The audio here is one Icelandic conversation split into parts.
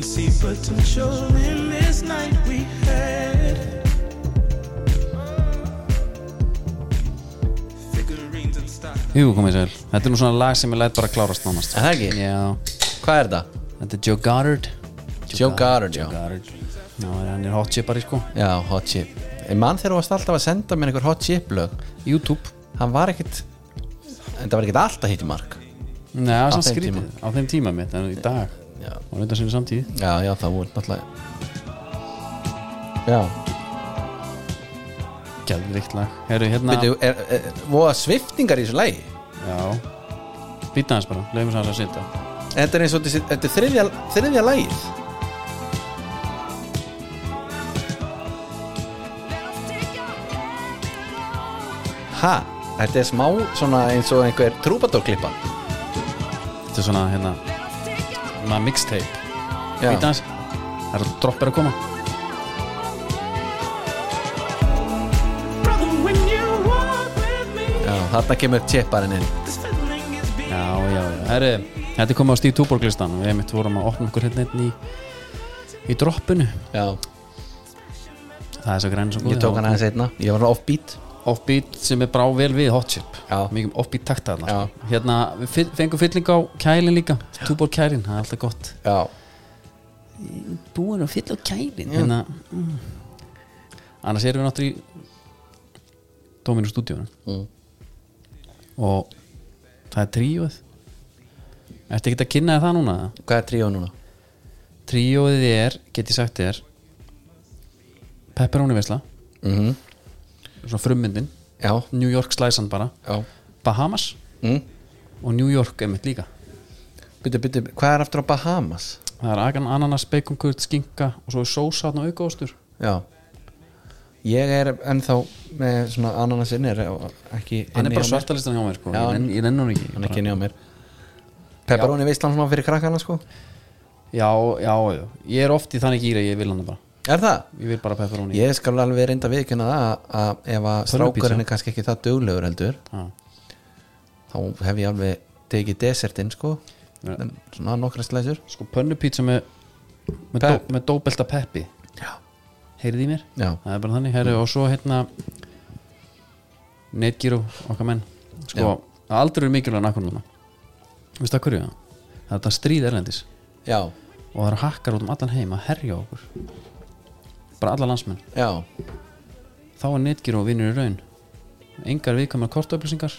see potential in this night we had. Figurines and stuff. Jú, komið sér Þetta er nú svona lag sem ég læt bara klárast nánast Er það ekki? Já, Hvað er það? þetta er Joe Goddard Joe Goddard, já. Joe Goddard Já, hann er hot chipari sko Já, hot chip Ég mann þegar þú varst alltaf að senda mér einhver hot chip lög YouTube Hann var ekkit En það var ekkit alltaf hitt í mark Nei, það er samt þeim skrítið Á þeim tíma mitt, en í dag Já, Og reynda sinni samtíð já, já það voru náttúrulega Já Gæðvikt lag Herru, hérna Býtu, er, er, voru það sviftingar í þessu lagi? Já Býta hans bara, leiðum hans að sitja Þetta er eins og þessi, þetta er þriðja, þriðja lagið Ha? Þetta er smá svona eins og einhver trúbadórklippa Þetta er svona, hérna Maður mixtape Býta hans Það eru droppir að koma Brother, when you walk with me, Já, þarna kemur tjepparinn inn this feeling is beyond. Já, já, já Herru, þetta er komið á Steve Tuborg listan Við mitt vorum að opna okkur hérna einn í Í droppinu Já, Það er svo græn svo góð ég tók hann aðeins einna Ég var offbeat offbeat sem er brá vel við hot chip Já. mikið um offbeat takta þarna Já. sko. hérna, við fyll- fengum fylling á kælin líka túbor kælin, það er alltaf gott Já, búin að fylla á kælin hérna, mm. annars erum við náttúrulega í Dóminu stúdíunum Mm. og það er tríóð ertu ekki að kynna þér það núna? eða? hvað er tríó núna? tríóið er, get ég sagt þér pepperoni vesla Mm svona frummyndin, Já, New York slæsan bara já Bahamas mm. og New York einmitt líka Byttu, byttu, hvað er aftur á Bahamas? Það er agan ananas, bacon, kurt, skinka og svo er sósa hann og aukaostur Já Ég er ennþá með svona ananasinn er ekki Hann er bara inni hjá mér. svartalistan hjá mér sko. Já, ég, nenn, hann- ég nenn hann ekki, Hann er bara, ekki inni á mér Pepperoni veistlan svona fyrir krakkana sko Já, já, já, ég er oft í þannig gýra ég vil hann bara, Er það? ég vil bara pepperoni Ég skal alveg reynda viðkynna það að- að ef að strákurinn er kannski ekki það duglegur heldur Já. þá hef ég alveg tekið desertinn sko Ja. En svona nokkra slæsur Sko pönnupítsa með með, dó, Pep. með dóbelta peppi Já. Heyrið í mér? Já, Það er bara þannig, herri, og svo hérna Neitgíru, okkar menn Sko, aldrei er mikilvæg nakkur núna Veistu það hverju það? Það er þetta stríð erlendis já, og það eru hakkar út um allan heim að herja á okkur bara alla landsmenn já, þá er netgíru og vinnur í raun engar viðkvæmar kortöflýsingar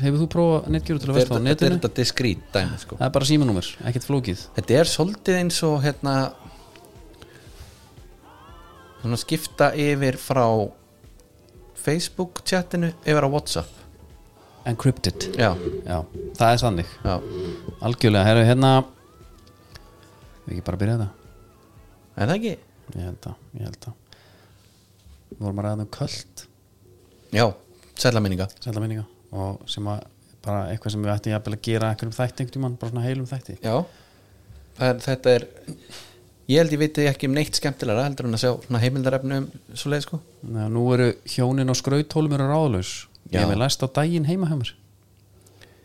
hefur þú prófað netgíru til að verða á þetta er- þetta er netinu þetta diskrít dæmi sko það er bara símanúmer, ekkert flókið Þetta er svolítið eins og hérna svona skipta yfir frá Facebook chatinu yfir á Whatsapp encrypted, Já, já, það er sannig já, algjörlega, herru, hérna við ekki bara byrja þetta er það ekki? ég held að, ég held að við vorum að ræða um köld Já, sælla minninga sælla minninga og sem að bara eitthvað sem við ættum jafnvel að gera einhverjum þætti einhvern tímann, bara svona heilum þætti Já það er, Þetta er Ég held ég viti ekki um neitt skemmtilega heldur en að sjá svona heimildarefni um svo leið sko Nei, nú eru hjónin og skrautólum eru ráðlaus ég Já. hef læst á daginn heima hjá mér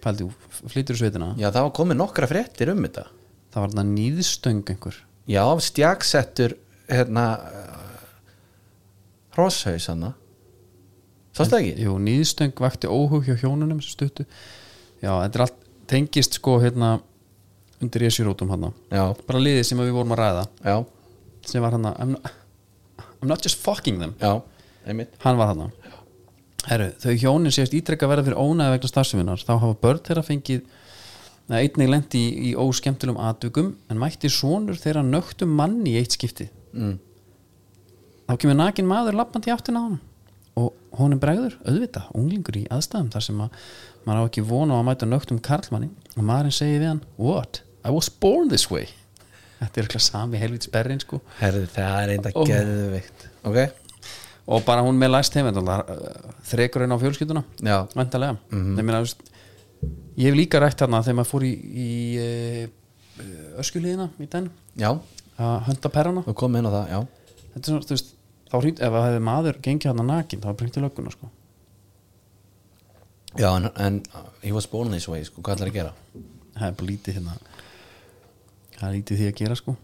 pældi, flyttur í sveitina Já, það var komið nokkra fréttir um þetta það var þarna nýðstöng einhver Já, stjagsettur hérna hrosshaus hann Sástu það ekki? Jú, nýðstöng vakti óhug hjá hjónunum sem stuttu já, þetta er allt tengist sko hérna undir esjurótum hann Já, bara liðið sem við vorum að ræða já, sem var hann I'm, not- I'm not just fucking them já einmitt hann var hann Heru, þau hjónin sést ítrekka verða fyrir ónæði vegna starfseminnar þá hafa börn þeirra fengið neða, einnig lendi í, í óskemmtilegum atvikum en mætti sonur þeirra nögtum manni í eitt skipti Mm. þá kemur nakin maður lappandi í áttina á hann og honum bregður, auðvita, unglingur í aðstæðum þar sem að maður á ekki vona á að mæta nögtum karlmanni og maðurinn segir við hann What? I was born this way Þetta er eitthvað sami helvits berrin sko Herðu, það er Ó. einnig oh. geðvikt Ok, og bara hún með læst heim þrekur henn eh, á fjölskylduna Já. væntalega meina, þú veist, ég hef líka rætt þarna þegar maður fór í, í öskuliðina í den já, að hönda perrana þú komið inn á það, já þetta er svona, þú veist, þá hringt ef það hefði maður gengið hann að nakin, þá hringt í lögguna sko. Já, uh, en, en he was born this way, sko, hvað ætlar að gera? það er bara lítið hérna það er lítið því að gera sko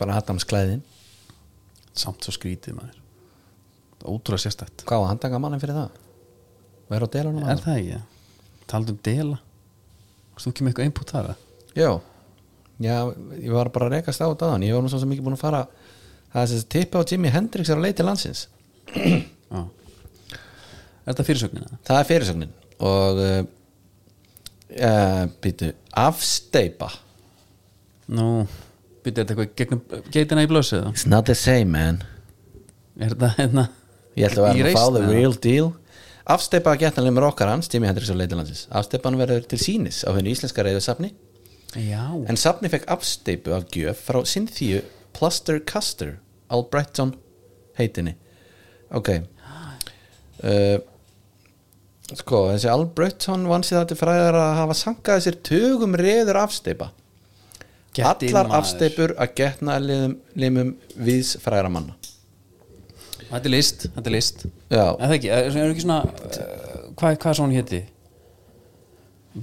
bara Adams klæðin samt svo skrítið maður ótrúlega sérstætt hvað var handtaka mannin fyrir það? verður á delanum er það ekki? Taldu um dela Varst þú ekki með eitthvað input þar? eða? já. já, ég var bara að rekast á þetta áðan. ég var nú svo sem ekki búin að fara það er þessi tippa á Jimi Hendrix er á leið til landsins Já Er þetta fyrirsögnina? það er fyrirsögnin og uh, uh, býtu, afsteipa Nú, byrja þetta eitthvað gegnum geitina í blössu eða? it's not the same man Er þetta hérna ég ætla að í vera að fá reisn, the eða? real deal afsteipa að getna lemur okkar hans Jimi Hendrix á leið til landsins afsteipan verður til sínis á hennu íslenska reyðu safni Já, en safni fekk afsteipu af gjöf frá Cynthia Plaster Custer Albretton heitinni ok uh, sko þessi Albretton vann sér það til fræðar að hafa sankaði sér tugum reður afsteipa Get inn, allar maður. afsteipur að getna limum, limum viðs fræðra manna þetta er list, þetta er list Já. Er það ekki, er, er ekki svona uh, hvað, hvað svo hún héti?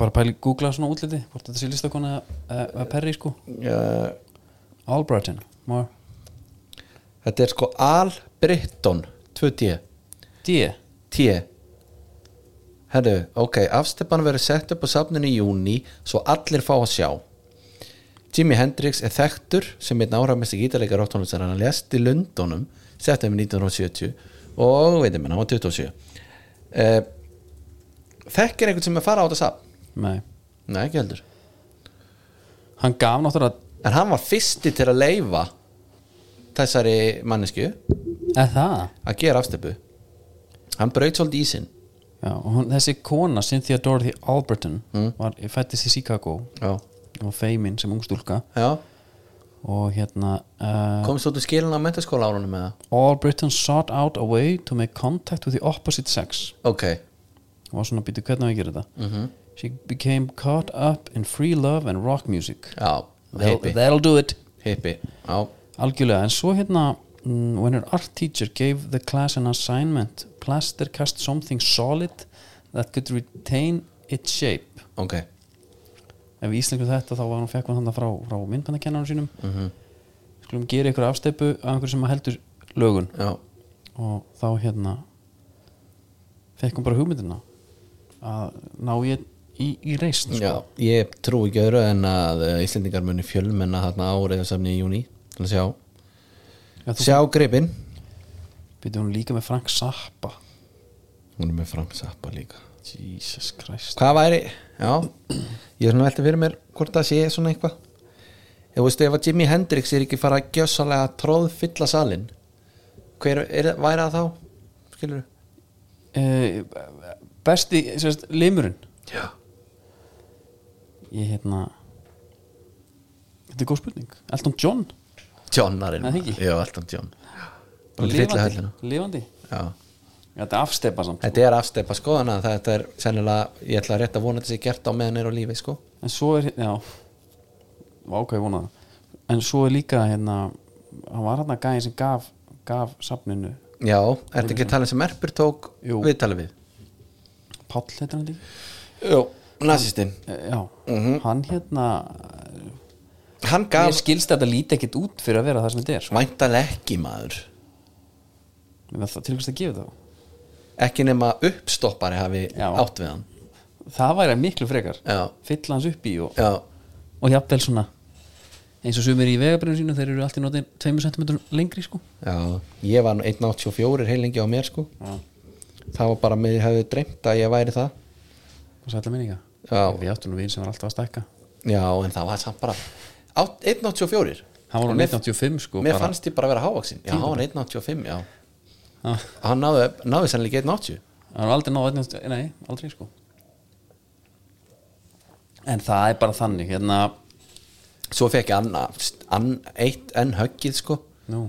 Bara pæli googla svona útliti hvort þetta sé listakona eða uh, perri sko uh, Albrighton, more þetta er sko Albretton 2D D T Herru, ok, afstepan verður sett upp á safninu í júni svo allir fá að sjá Jimi Hendrix er þekktur sem einn áhrafmesti gítarleika róttónlistar hann lest í um Lundunum settum 1970 og veitum hann, hann var 27 uh, Þekkir einhvern sem er fara á þetta safn? Nei, Nei, ekki heldur hann gaf náttúrulega En hann var fyrsti til að leifa þessari mannesku Er það? að gera afstepu Hann braut svolítið í sinn Já, og hún, þessi kona Cynthia Dorothy Alberton Mm. var fættist í Chicago Já, og feimin sem ungstúlka Já. og hérna uh, komst þú til skilin á mentaskóla árunum með það? Alberton sought out a way to make contact with the opposite sex Ok, og var svona býtið hvernig á ég gera þetta Mhm. she became caught up in free love and rock music já, They'll, hippi that'll do it hippi, já, algjörlega, en svo hérna mm, when her art teacher gave the class an assignment plaster cast something solid that could retain its shape ok ef við íslengum þetta þá var hann fekk hann þannig frá, frá myndbandakennarinn sínum Mhm. skulum gera ykkur afsteipu af einhverju sem heldur lögun já, og þá hérna fekk hún bara hugmyndina að ná ég í, í reist já, sko. ég trú ekki öðru en að eh, Íslendingar muni fjölmenna þarna áreiðasafni í júni þannig að sjá, Já, þú sjá gripin byrjuði hún líka með Frank Zappa hún er með framsappa líka Jesus Christ hvað væri, já ég er svona veltið fyrir mér hvort það sé svona eitthvað ég veist ef að Jimi Hendrix er ekki fara að gjössalega að tróðfylla salin hver er, væri það þá, skilur uh, besti, sérst, limurinn já, ég hérna þetta er góð spurning, Elton John Johnarinn Nei, ekki. já, alltaf John Bara fylla lifandi, höllina. lifandi já Já, þetta er afsteipa samt Þetta er afstepa sko þannig að þetta er sennilega, ég ætla að rétt að vona þetta sé gert á meðan er á lífi sko en svo er já, ákveði vona það en svo er líka hérna hann var hann að gæði sem gaf, gaf safninu, Já, ertu ekki að tala um sem Erpur tók Jú. viðtali við Páll heitir hann líka Jú, nazistinn E, já, hann hérna Hann ég Mhm. gaf skilst að þetta líti ekkit út fyrir að vera það sem þetta er sko. væntalega ekki maður Ég meina, það- til hvers að gefa það ekki nema uppstoppari hafi Já. átt við hann það væri miklu frekar, Já. fylla hans upp í og, Já, og jafnvel svona eins og sumir í vegabrinu sínu, þeir eru allt í nótin 2 cm lengri sko já, ég var nú 1.84 heilingi á mér sko Já. Það var bara, mig hefði dreymt að ég væri það og sætla minninga, Já. við áttum nú við sem var alltaf að stækka Já, en það var samt bara Átt- 1.84 hann var á Mér- 1985 sko Mér bara. fannst ég bara vera hávaksin Já, hann var 1.85, já Ah. Hann náði, náði sennilega ekki 1.80 Það er aldrei náð einnast, nei, aldrei sko En það er bara þannig hérna, svo fekk ég anna, ann, eitt enn höggið sko nú,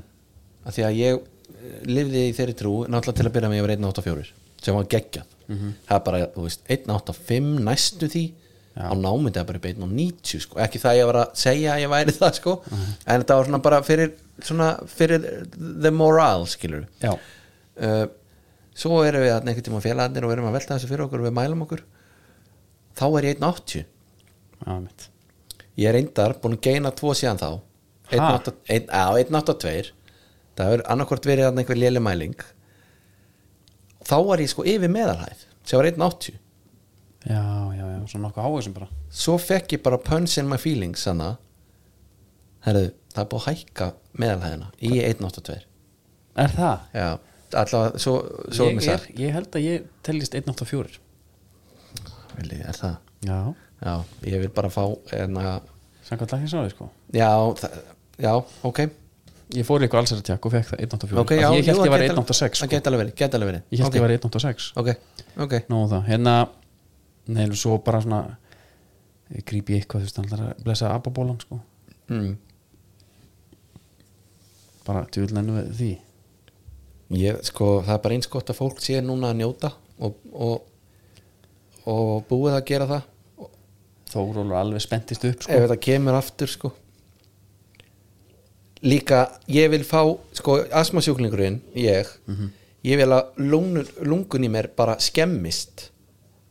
af því að ég eh, lifði í þeirri trú náttúrulega til að byrja með ég var 1.84 sem var geggjað Mhm. það er bara, þú veist, 1.85 næstu því á námyndi að bara upp í 1.90 sko ekki það ég var að segja að ég væri það sko Mhm. en þetta var svona bara fyrir svona fyrir the morale skilur já uh, svo erum við að einhvern tíma félagarnir og erum að velta þessu fyrir okkur og við mælum okkur þá er ég 1.80 Já, mitt ég er reyndar búin að geina tvo síðan þá Einn Ha? átta- einn- á, 182 það hefur annarkvort verið þarna einhver léli mæling þá var ég sko yfir meðalhæð sem var 180 já, já, já, svona nokkuð áhersum bara svo fekk ég bara punch in my feelings hana herðu, það er búið að hækka meðalhæðina í 182 er það? já, allavega, svo, svo ég, mér er, ég held að ég tellist 184 Vilji, er það? já, Já, ég vil bara fá hérna, enna, samkvæmt læknisráði sko já, það, já, ok ég fór líka alls að tjekk og fekk það 184 Ok, okay, já, ég held jú, ég var gæti alveg- 186 Það sko. geta alveg verið, geta alveg verið ég held Ok, ég var 186 Ok, ok Nú það, hérna Nei, en svo bara svona grípi ég eitthvað, þú veist, hann ætlar að blessa ababólan, sko, mm. bara tjúlnennu við því Ég, sko, það er bara eins gott að fólk sé núna að njóta og, og, og búið að gera það Þórólur alveg spenntist upp, sko ef þetta kemur aftur, sko Líka, ég vil fá, sko, asmasjúklingurinn, ég ég vil að lungun, lungun í mér bara skemmist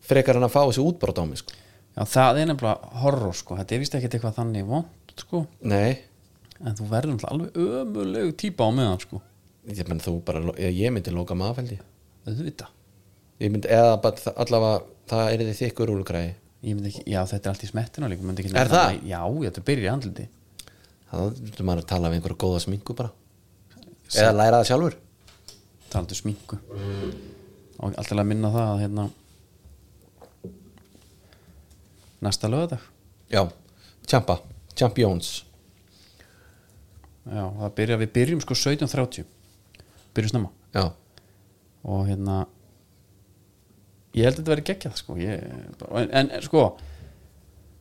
frekar en að fá þessu útbrot á mig, sko Já, það er nefnilega horror, sko, þetta er vist ekkert eitthvað þannig vond, sko, Nei, en þú verður náttúrulega alveg ömulegu típa á meðan, sko ég, menn, þú bara, ég, ég myndi loka maður, held ég auðvitað, Ég myndi, eða bara þa- allavega það er þið þykkur rúlugræði ég myndi ekki, já, þetta er allt í smettina líka, myndi ekki Er nefna- það? Já, þetta byrjar í andliti Það þurftum maður að tala við einhverja góða sminku bara Eða læra það sjálfur talandu um sminku og alltaf að minna það að hérna næsta lögadag Já, Champa, Champions já, það byrja, við byrjum sko 17.30 byrjum snemma Já, og hérna ég held að þetta verið geggjað sko ég, bara- en, en sko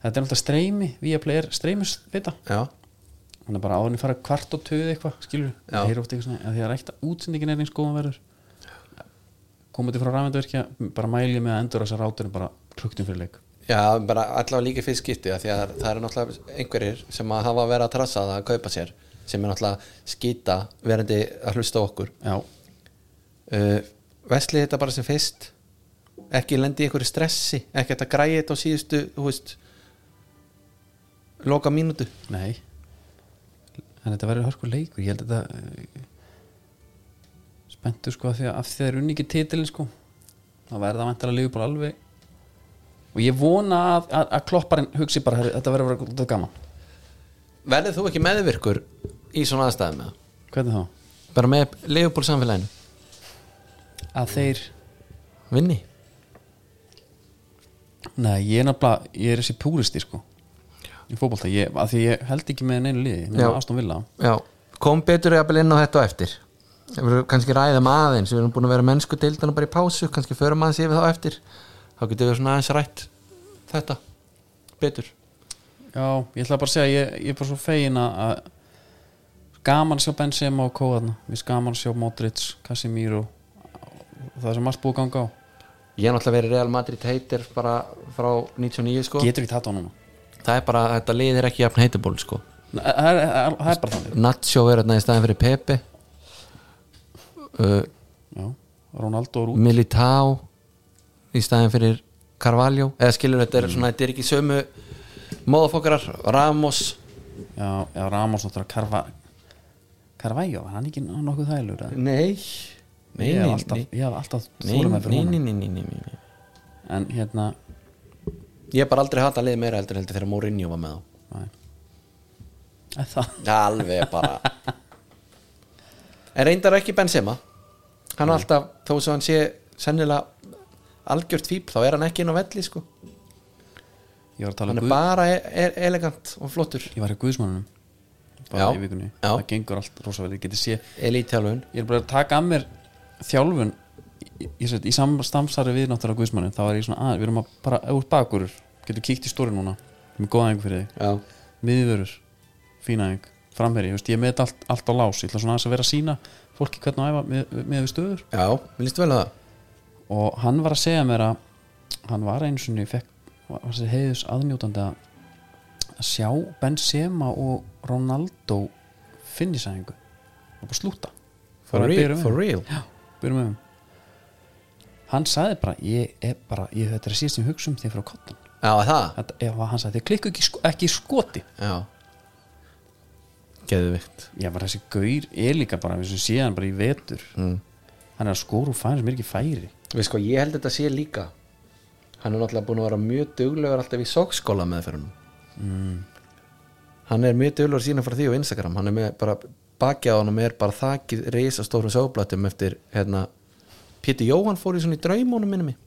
þetta er alltaf streymi, við að play er streymis vita, já, hann er bara áðurinn fara kvart og töðu eitthvað, skilur Já. það er oft eitthvað svona, að því að rækta útsendingin er eins góðan verður komandi frá rafendavirkja, bara mæli ég með að endur þessar ráturinn bara klukktum fyrir leik já, bara allavega líka fyrst skipti af Því að það eru náttúrulega einhverjir sem að hafa verið að trassa það að kaupa sér sem er náttúrulega skýta verandi að hlusta á okkur já, uh, Vesli þetta bara sem fyrst ekki lendi í einhverju stressi ekki þetta græði þetta á síðustu þú veist, loka mínútu Nei En þetta verður hörku leikur Ég held að þetta Spenntu sko af því að, af því að það er unni ekki titilin sko þá verða vantar að lifa bara alveg og ég vona að, að, að klopparinn hugsi bara "Herri, þetta verður að vera þetta gaman Verðið þú ekki meðvirkur í svona aðstæðum með Hvernig þá? bara með leifupól samfélaginu Að þeir vinni Nei, ég er náttúrulega, ég er þessi púristi sko í fótbolta, ég, að því ég held ekki með neinu liði, með Já. Aston Villa Já, kom betur jafnvel inn á þetta og eftir Við erum kannski ræðum aðeins Við erum búin að vera mennsku deildana bara í pásu kannski förum aðeins yfir þá eftir þá getum við svona aðeins rætt þetta betur Já, ég ætla bara að segja að ég, ég er bara svo fegin að- að gaman að sjá Benzema og Kóðarna við gaman að sjá Modric, Casemiro það sem allt búið að ganga á Ég er náttúrulega verið Real Madrid heitir bara frá 99 sko getur ekki tata á núna Það er bara, þetta liðir ekki jafn heitaból sko Nei, það er, það er- það er bara þannig Nacho er þarna í staðin fyrir Pepe uh, Já, Ronaldo er út Militao í staðin fyrir Carvalho eða skilur þetta er Mm. svona, þetta er ekki sömu móðafokkarar, Ramos Mm. Já, já Ramos náttúrulega Carva Carvajó, hann er ekki nokkuð þælur Nei Nei, ég hef nei, alltaf, nei. ég hef alltaf nei, þólum með fyrir nei, nei, honum nei, nei, nei, nei. en hérna, Ég hef bara aldrei hata liðið meira heldur heldur þegar Mourinho var með þá næ Æ, það, Alveg bara En reyndar ekki Benzema Hann er alltaf, þó svo hann sé sennilega algjört fíp, þá er hann ekki inn á velli sko ég var að tala Hann um er Guð bara e e elegant og flottur ég var í Guðsmannunum bara Já, í vikunni, já. það gengur allt rosa vel, ég geti séð Elítjálfun ég er bara að taka að mér þjálfun í, í, í, í samstarfi við náttúrulega guðsmannin, þá er ég svona að við erum að bara úr bakurur, getur kíkt í stóri núna við erum góða engu fyrir þig, Já, miðvörur fína eng, framherji, ég, veist, ég met allt, allt á lás, ég ætla svona aðeins að vera að sína fólki hvernig að æfa með, með við stöður já, mér líst vel að það og hann var að segja mér að hann var einu sinni fekk, var var sér heiðus aðnjótandi að að sjá Benzema og Ronaldo finnisæðingu og bara slúta For Bara að real, byrja við. for real. Já, byrjum við um hann sagði bara, ég er bara ég, þetta er síðast sem hugsa um þegar frá kottan Já, er það? Þetta, já, hann sagði, þið klikku ekki, sko- ekki í skoti Já Geðvikt Já, bara þessi gaur er líka bara við sem sé hann bara í vetur mm. Hann er að skóru færi sem er ekki færi Við sko, ég held þetta sé líka Hann er náttúrulega búin að vera mjög duglegur alltaf í sókskóla meðferðunum mm. Hann er mjög duglegur sína frá því á Instagram Hann er með bara bakið á hann er bara þakið reisa stórum sóblatum eftir hérna Pétur Jóhann fór í svona í draumónum minni mig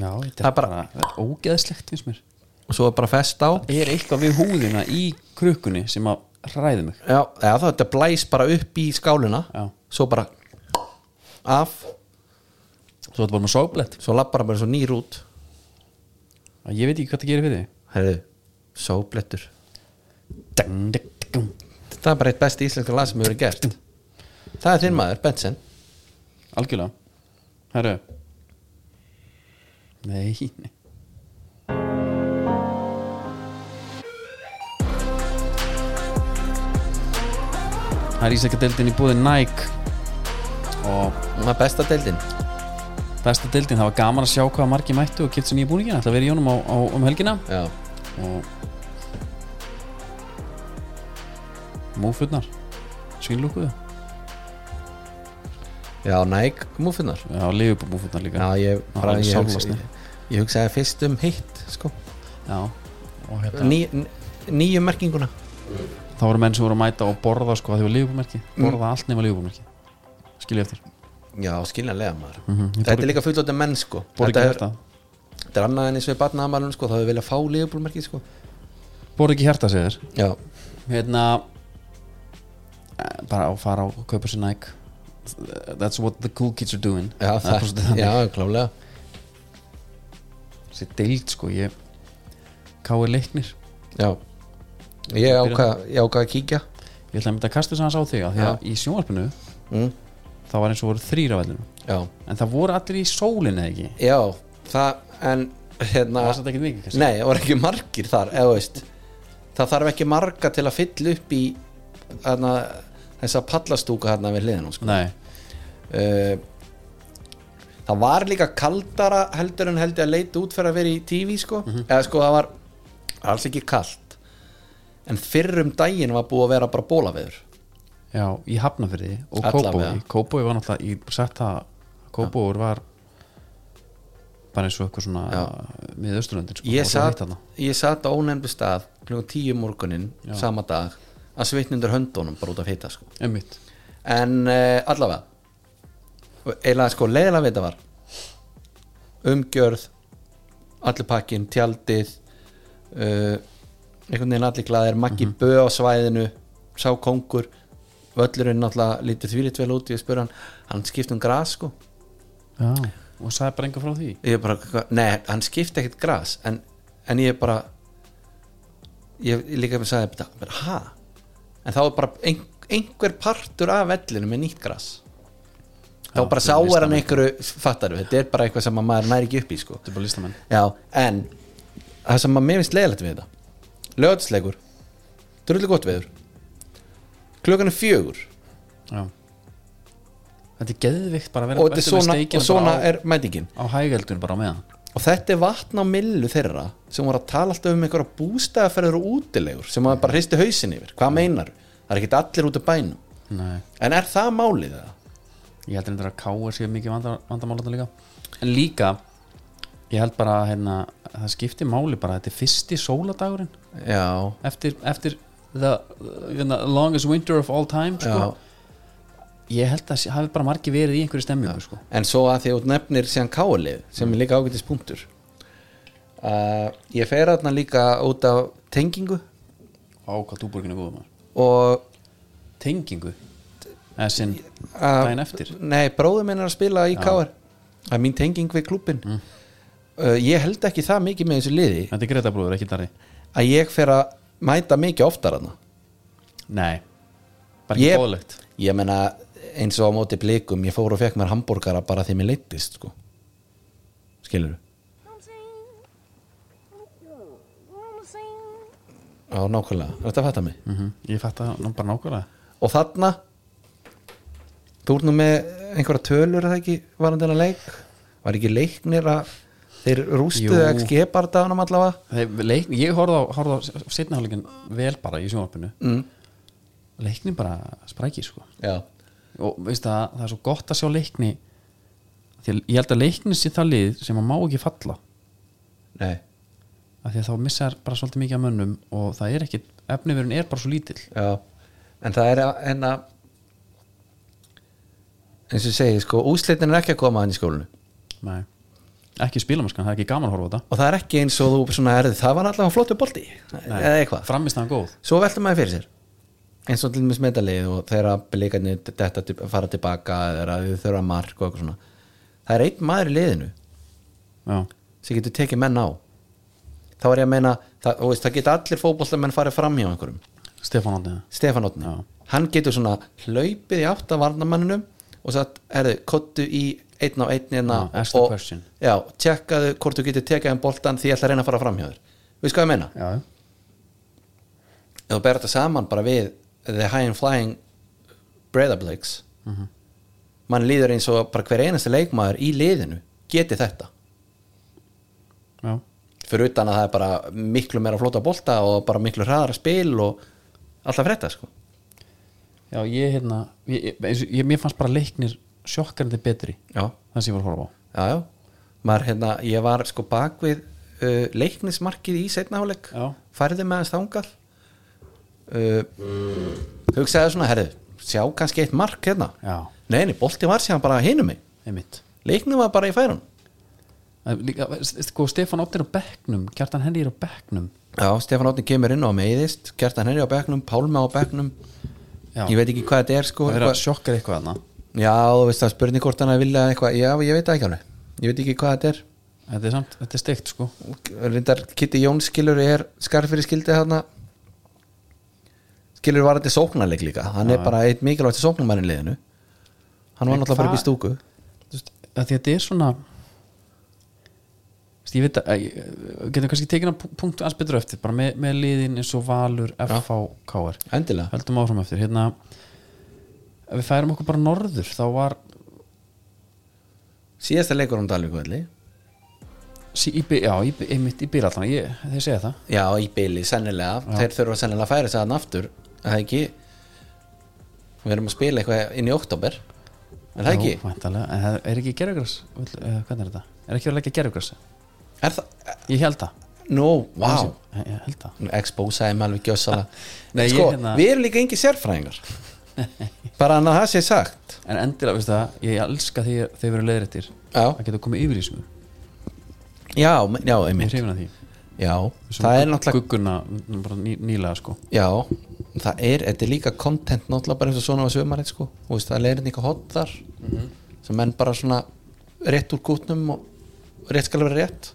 Já, þetta Það er er bara, bara- bara ógeðslegt finnst mér og svo er bara fest á Það er eitthvað við húðina í krukkunni sem að hræði mig Já, eða það þetta blæs bara upp í skálina Já. Svo bara af Svo þetta bara með sóblett Svo lappar hann bara svo nýr út Ég veit ekki hvað það gerir fyrir þig Herðu, sóblettur Dang, dang, dang. Það er bara eitt besti íslenska lag sem hefur verið gert Það er þinn maður, Benson Algjörlega Herru Nei, nei Það er ísækka deildin í búði Nike og Það er besta deildin besta deildin, það var gaman að sjá hvað margi mættu og kipt sér nýja búningina, það verið í honum á, á, um helgina Já, og múfurnar svínlúkuðu, já Nike, múfinnar já, liðubú múfurnar líka Já, ég, Já, bara, alveg ég, hugsa, sálasnir. ég, ég hugsaði fyrst um hitt sko. Já. og hérna Ný, n- Nýju merkinguna þá voru menn sem voru að mæta og borða sko að því var lífbúmerki, Mm. borða allt nema lífbúmerki skilja eftir, Já, skiljanlega maður Mhm, ég Þetta er líka fullóta menn sko. borða þetta, ekki er, hjarta þetta er annað en eins og við barnaðamælun sko. Það hefur viljað fá liðbúlmerki sko. borða ekki hjarta segir þér. Já, hérna eh, bara á fara á og kaupa sér Nike that's what the cool kids are doing já, það er það, bara svolítið já þannig. klálega þessi deild sko ég káir leiknir Já Ég ákvað ég ákvað að kíkja ég ætla að mynda að kasta þess að hans á þig af því að í sjónvarpinu mm. þá var eins og voru þrýra vellinu Já, en það voru allir í sólinni eða ekki já það, en hérna það var þetta ekki mikið kannski Nei, það var ekki margir þar eða, þú veist, Það þarf ekki marga til að fylla upp í hana, þessa pallastúka hérna við hliðinu sko. nei, uh, Það var líka kaldara heldur en heldur að leita út fyrir að vera í TV sko. Mhm. eða sko það var alls ekki kalt en fyrrum daginn var búið að vera bara bólaveður já, í Hafnafyrði og Allavega. Kópói Kópói var náttúrulega, ég sagt það Kópói var bara eins og eitthvað svona miðausturlöndin sko, Ég og það var sat, heitt þarna. ég sat á ónefndu stað klukkan tíu morgunin sama dag að svitnundur höndunum bara út af hita sko. einmitt, en uh, allavega eiginlega sko leiðilega við þetta var umgjörð allir pakkin, tjaldið uh, einhvern veginn allir glæðir Maggi mm Bö á svæðinu sá kongur völlurinn náttúrulega lítur þvílitt vel út ég spyr hann, hann skipti um gras sko já og sagði bara enga frá því ég bara, hva- nei, hann skipti ekkert gras en, en ég bara ég ég líka með sagði þetta, bara, ha en þá er bara ein, einhver partur af vellinu með nýtt gras þá Já, bara fyrir sáir hann listamenn. einhverju fattar við, þetta er bara eitthvað sem að maður næri ekki upp í sko. þetta er bara listamenn já, en það sem að mér finnst leiðilegt við þetta lögatisleikur, drullu gott veður klukkan er fjögur já. þetta er geðvikt bara að vera og, þetta er bestu með svona, steikina og svona bara á, er mætingin á hægældun bara á meðan og þetta er vatn á millu þeirra sem voru að tala alltaf um einhverja bústæðaferður og útilegur sem maður bara hristi hausin yfir hvað meinar, það er ekkit allir út af bænum nei en er það málið það? ég held reyndar að káa sér mikið vandar, vandamála líka en líka ég held bara að hérna, það skipti máli bara þetta er fyrsti sóladagurinn Já, eftir, eftir the, the longest winter of all time sko. ég held að sé- hafi bara margi verið í einhverju stemmingu sko. en svo að því að þú nefnir síðan káalið sem er líka ágætis punktur uh, ég fer þarna líka út af tengingu á hvað túborginu góðum maður og tengingu eða sinn að- daginn eftir Nei, bróður minn er að spila í káar það er mín tenging við klúbin Mm. uh, ég held ekki það mikið með þessu liði þetta er Greta bróður, ekki Darri að ég fer að mæta mikið oftar hana nei, bara ekki Ég- bóðlegt ég meina eins og á móti blikum ég fór og fekk mér hambúrgara bara því mér leittist sko. skilur á nákvæmlega, þetta að fatta mig mm ég fætt það nú bara nákvæmlega og þarna þú ert nú með einhverja tölur er það ekki varandi hennar leik var ekki leiknir að þeir rústuðu Jú. XG barðanum allavega Þeir- leik, ég horfði á, horfði á setnaháleikin vel bara í sjónvarpinu mm. leikni bara spræki sko. já, og veist það, það er svo gott að sjá leikni því að ég held að leikni sé það lið sem að má ekki falla nei, af því að þá missar bara svolítið mikið af mönnum og það er ekki, efniverun er bara svo lítill já en það er að en að eins og ég segi, sko, úslitin er ekki að koma hann í skólinu Nei. ekki spilamarskan, það er ekki gaman að horfa á þetta og það er ekki eins og þú svona erði það var allavega flottu bolti eða eitthvað framist það góð svo veltum maður fyrir sér eins og til dæmis medalið og þegar leikarnir þetta til- fara tilbaka eða þau þurfa mark og eitthvað svona það er einn maður í liðinu Já. sem getur tekið menn á þá er ég að meina það, þú veist, það geta allir fótbollamenn farið fram hjá einhverjum Stefán Átni Stefán Otni, Já. hann getur svona hlaupið í átt að varnamanninum og sagt, erðu, kottu í einn á einn hérna Já, ask the og, question. já, tjekkaðu hvort þú getur tekið en boltan því ég ætla að reyna að fara fram hjá þér við skoðum meina, Já. ef þú ber þetta saman bara við the high and flying breathabliks mann líður eins og bara hver einasti leikmaður í liðinu geti þetta Já. fyrir utan að það er bara miklu meira flóta bolta og bara miklu hraðara spil og alltaf frétta sko Já, ég hérna ég, ég, eins og- ég, mér fannst bara leiknir sjokkarandi betri já, þannig sem ég var að horfa á já, já Maður, hérna, ég var sko bak við uh, leiknismarkið í setna háleik Já. færði með hans þangað uh, hugsaði svona herri, sjá kannski eitt mark hérna Já. nei, nei, bolti var síðan bara hinum mig einmitt leiknum var bara í færun Það er Líka, sko, Stefán Átni er á bekknum Kjartan Henry er á bekknum Já, Stefán Átni kemur inn á meiðist Kjartan Henry á bekknum, Pálmi á bekknum Já. Ég veit ekki hvað þetta er sko það er að eitthvað- sjokkar eitthvað hana Já, þú veist það spurning hvort hann að vilja eitthvað Já, ég veit það ekki alveg Ég veit ekki hvað þetta er þetta er samt, þetta er steikt sko Rindar, Kitty Jóns skilur er skarfyrir skildið þarna Skilur var þetta sóknarleik líka Hann er bara eitt mikilvægt sóknarmærin liðinu Hann var En náttúrulega bara upp hvað- í stúku Þú veist, að því að þetta er svona Þú veist, ég veit að að ég- getum kannski tekin að punkt alls betur eftir bara með, með liðin eins og Valur FHKR, Endilega höldum áfram eftir hérna, ef við færum okkur bara norður þá var Síðasta leikur um Dalvíkvelli sí, í, Bi- já, í, Bi- einmitt í bílallan ég, þeir segja það Já, í byli, sennilega Þeir þurfa sennilega að færa sig hann aftur Er Það ekki Við erum að spila eitthvað inn í oktober Er það ekki? Jú, væntanlega. en það er ekki gerugras hvernig er þetta, er ekki verið að leggja gerugras Er það? ég held það Nú, vá wow. ég, ég held það Expósaði mig alveg gjössala Nei, ég Sko, hérna- við erum líka engi sérfræðingar Bara hann að það sé sagt en endilega, veist það, ég elska því þeir verið leiðrættir Já. að geta komið yfir í sem Já, men- já, ég er einmitt hrifin að því Já, það er náttúrulega gugguna mm, bara ný, nýlega sko Já, það er, þetta er líka content náttúrulega bara eins og svona á sömarið sko Þú veist, það leirin eitthvað hot þar sem menn bara svona rétt úr kútnum og rétt skal vera rétt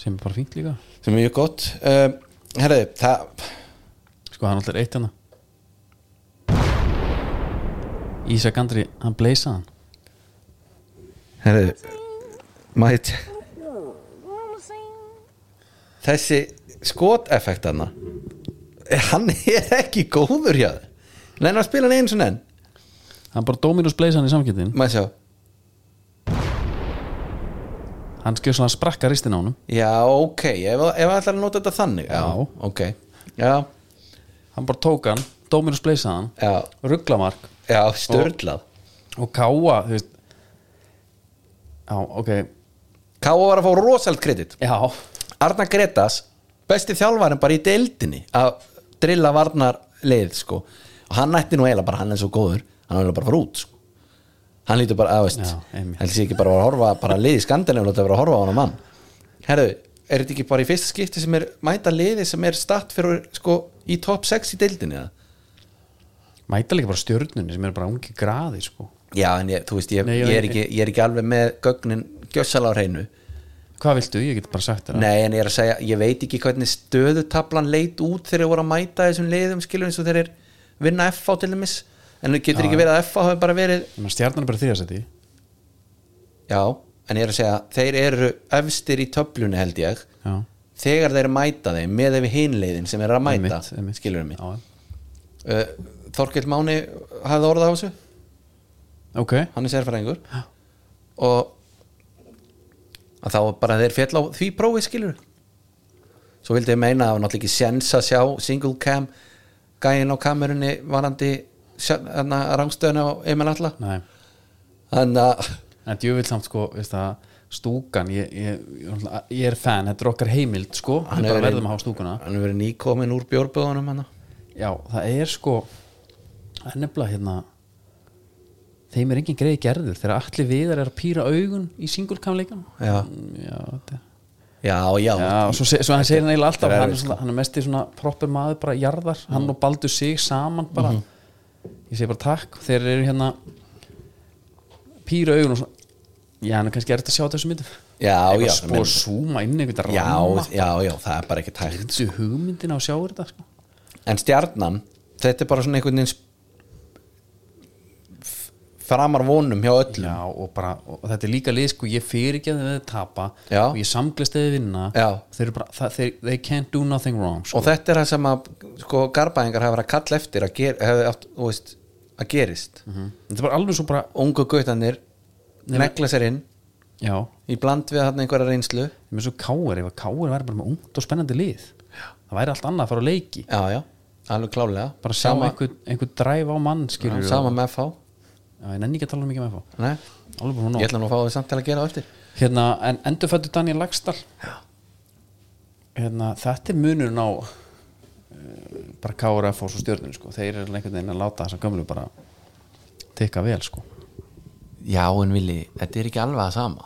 sem er bara fínt líka sem er mjög gott um, herðu, það sko hann alltaf er eitt hana Ísak Andri, hann bleysa hann herðu, maður t- þessi skoteffektana hann er ekki góður hjá þér neina að spila hann eins og enn hann bara Dominus bleysa hann í samkjöndin maður sjá, hann skjöð svona sprakka ristin á honum já ok ef, ef ætlar að nota þetta þannig já, Já. ok, já, hann bara tók hann, Dominus bleysa hann já, rugglamark já störlað og káa þú veist já, ok, Káa var að fá rosalt kredit já Arna Gretas, besti þjálfarin bara í deildinni að drilla varnar leið sko og hann ætti nú eiginlega bara, hann er svo góður hann er eiginlega bara að fara út sko hann lítur bara, að veist, Já, hann einmitt. sé ekki bara að horfa bara að liði skandinu og láta vera að horfa á hann mann herru, er þetta ekki bara í fyrsta skipti sem er mæta liði sem er statt fyrir sko í top 6 í deildinni eða? mæta líka bara stjörnunni sem er bara ungi graði sko já, en ég, þú veist, ég, Nei, já, ég, er ég- ekki, ég er ekki alveg með gögnin gjössal á hreinu hvað viltu, ég get bara sagt þér það Nei, en ég er að segja, ég veit ekki hvernig stöðutablan leit út þegar þeir voru að mæta þessum liðum skilur eins og þeir er vinna FH til dæmis en það getur ekki verið að FH hafi bara verið Ég meina, stjarnan er bara þriðasetti já, en ég er að segja, þeir eru efstir í töflunni held ég já, þegar þeir mæta þeim með ef hinleiðin sem er að mæta, Einmitt, einmitt. skilur mig já, uh, Þorkell Máni hafði orðað á þessu, ok hann er sérfæringur og að þá bara þeir fjall á því prófi skilur svo vildi ég meina að það var náttúrulega ekki sens að sjá single cam gæin á kamerunni varandi rangstöðun á Emil Alla Nei. þannig að en djúvill samt sko veist það, stúkan, ég, ég, ég, ég er fan þetta er okkar heimild sko Hann við bara er- verðum að hafa stúkuna hann er verið nýkomin úr bjórböðunum hann já, það er sko það er nefnilega hérna þeim er engin greið gerður þegar allir viðar er að pýra augun í singulkamleikan Já. já, þetta er já, já, sko. Já, og svo, se- svo hann segir hann eiginlega alltaf Það er hann er, erfitt, svona, hann er mest í svona proper maður bara jarðar, Mm. hann og Baldur sig saman bara, Mhm. ég segi bara takk þeir eru hérna pýra augun og svona já, hann er kannski erfitt að sjá þessu myndum Já, Eitthvað já, sko menn- að súma inn í einhvern já, ramma já, já það er bara ekki tækt þessu hugmyndina og sjá þetta sko. en stjarnan, þetta er bara svona einhvern veginn f- framar vonum hjá öllum já, og bara, og þetta er líka lið sko, ég fyrir ekki að þeir tapa Já. og ég samglist þeir vinna Já. þeir eru bara, það, þeir, they can't do nothing wrong sko. og þetta er það sem að sko, garbaðingar hafa verið að kalla eftir að, ger, hef, átt, þú veist, að gerist Mm. þetta er bara alveg svo bara ungu gautanir negla sér inn já, í bland við þarna einhverja reynslu ég með svo káir, ef að káir væri bara með ungt og spennandi lið það væri allt annað að fara á leiki já, já, alveg klálega bara sjá sama, einhver, einhver dræf á mann skilur sama með FH já, ég nenni ekki að tala um mikið með fá Nei, alveg bara ég nóg ætla nú að fá þau samt til að gera það eftir hérna, en endurfættu Daniel Lagstall hérna, þetta er munurinn á uh, bara káir að fá svo stjörnum sko. þeir eru einhvern veginn að láta þessa gömlu bara tikka vel sko. já, en Vili, þetta er ekki alveg að sama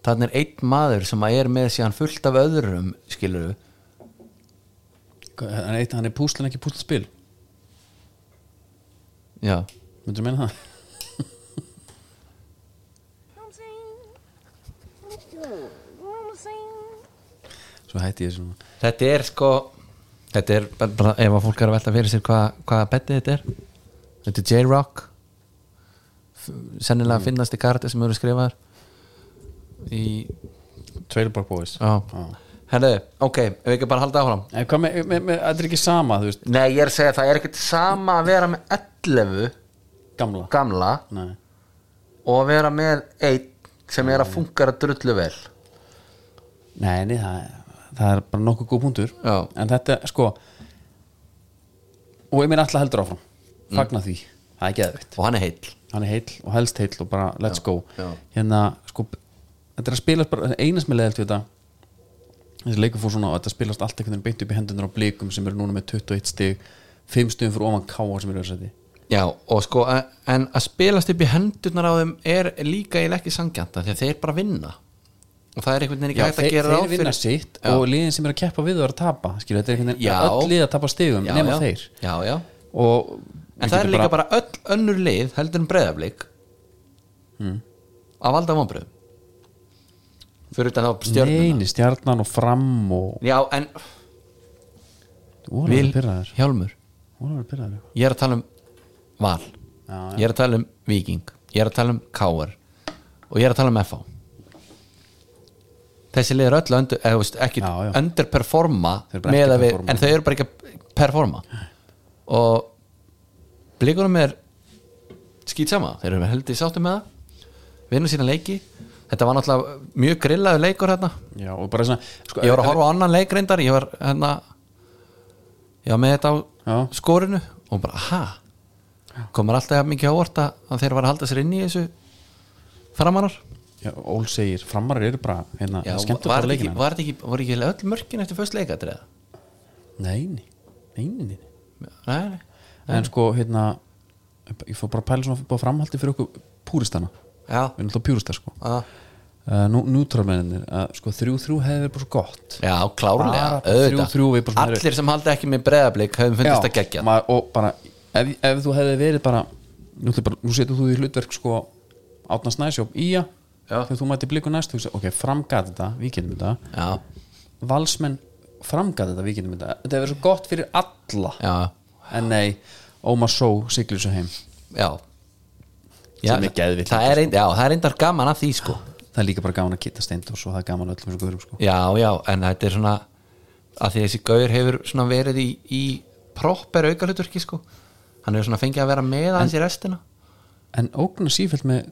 þannig er einn maður sem að er með síðan fullt af öðrum skilur við hann, eitt, hann er púslin ekki púslspil já, myndur meina það? svo hætti ég svona Þetta er sko Þetta er bara, bara ef að fólk er að velta fyrir sér hvað hva betið þetta er Þetta er J-Rock F- Sennilega finnast í karti sem eru skrifaðar Í Trailer Park Boys Já Herðu, ok, ef við ekki bara halda áfram En hvað með, með, með, þetta er ekki sama, þú veist, Nei, ég er að segja það er ekkert sama að vera með 11 gamla gamla Nei, og að vera með einn sem er að funkar að drullu vel nei, nei það, það er bara nokkuð góð punktur Já. En þetta, sko Og ég meina alltaf heldur áfram Mm. Fagna því, það er geðvitt Og hann er heill Hann er heill og helst heill og bara let's go já. Hérna, sko, þetta er að spilast bara Einas með leðilt við þetta Þessi leikur fór svona og þetta spilast allt einhvern veginn beint upp í hendunar á blikum sem eru núna með 21 stig 5 stigum fyrir ofan káa sem eru að setja Já, og sko, a- en að spilast upp í hendurnar á þeim er líka eiginlega ekki sangjanta því að þeir bara vinna og það er einhvern veginn ekki hægt að þeir, gera þeir ráð vinna fyrir sitt Já. og liðin sem eru að keppa við þú eru að tapa skilu, þetta er einhvern Já. veginn, öll lið að tapa stigum Já, nema já. þeir Já, já, og en það er líka bara, öll önnur lið heldur en breyðablík mm. Mm. að valda vonbröðum fyrir utan þá stjörnuna neini stjarnan og fram og Já, en voru Vil að pyrraður Hjálmur, voru að pyrraður ég er að tala um Val, Já, ég er að tala um Viking ég er að tala um Káar og ég er að tala um FH þessi lið er öll undir, eða, þú veist, ekki Já, já. underperforma Þeir eru bara ekki með að við, performa. en þau eru bara ekki að performa og blikunum er skýt sama, þeir eru heldur sáttum með það vinna sína leiki þetta var náttúrulega mjög grillaður leikur hérna já og bara svona sko, ég var að horfa á annan leik reyndar ég var hérna ég var með þetta á Já. skorinu og bara, aha komur alltaf jafn mikið ávort að þeir var að halda sér inn í þessu framarar já, Ól segir framarar eru bara hérna, Já, skemmt bara var þetta ekki, leikina var þetta ekki, voru ekki öll mörkin eftir fyrst leikadrið neini, neini nei, nei. en sko hérna ég fór bara að pæla svona búið framhaldi fyrir okkur púristana, já, við erum alltaf púristar sko að- uh, nú, nútrálmennir, uh, sko 3-3 hefði verið bara svo gott já klárlega Bara auðvitað. þrjú, þrjú, við bara svona- allir sem halda ekki með breðablík hefum fundist að gegja maður, og bara ef, ef þú hefði verið bara nú, ætla ég bara, nú setur þú í hlutverk sko átna snæsjóp í að Já. þegar þú mætti bliku næst hugsa, ok, framgat þetta, við getum þetta já, valsmenn framgat þetta, við getum þetta þetta hefur verið svo gott fyrir alla já, en nei, Ómar Só siglir svo heim já Já, Sem er geðvill. það er reynd- já, það er reyndar gaman að því sko það er líka bara gaman að kitta steind og svo það er gaman öllum svo guðurum sko Já, já, en þetta er svona að því að þessi gaur hefur svona verið í, í proper aukaluturki sko hann hefur svona fengið að vera með hans í restina en ógnar sífælt með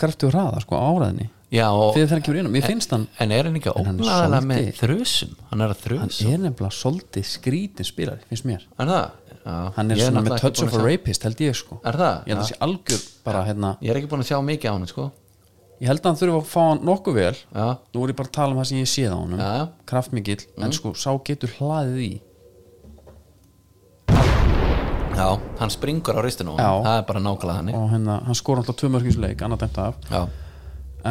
krafti og hraða sko á áraðinni Já, og, þegar það kemur inn á, mér finnst hann en er hann ekki En hann er óblæðilega með svolítið- þrösum hann er að hann þrösum er nefnilega svolítið skrítin spilari, finnst mér er það? Já, hann er ég svona náttúrulega með ekki touch búinn of a að sjá- rapist held ég sko Er það? ég held að Já. sé algjör bara hérna ég er ekki búin að sjá mikið á hann sko. ég held að hann þurfi að fá hann nokkuð vel já, nú er ég bara að tala um það sem ég séð á honum Já. Mm. kraftmikill, en sko sá getur hlaðið í já, hann springur á ristinu Já. það er bara nákvæmlega hann og hérna, hann skora alltaf tvö mörg í þessu leik, annað dæmt af já,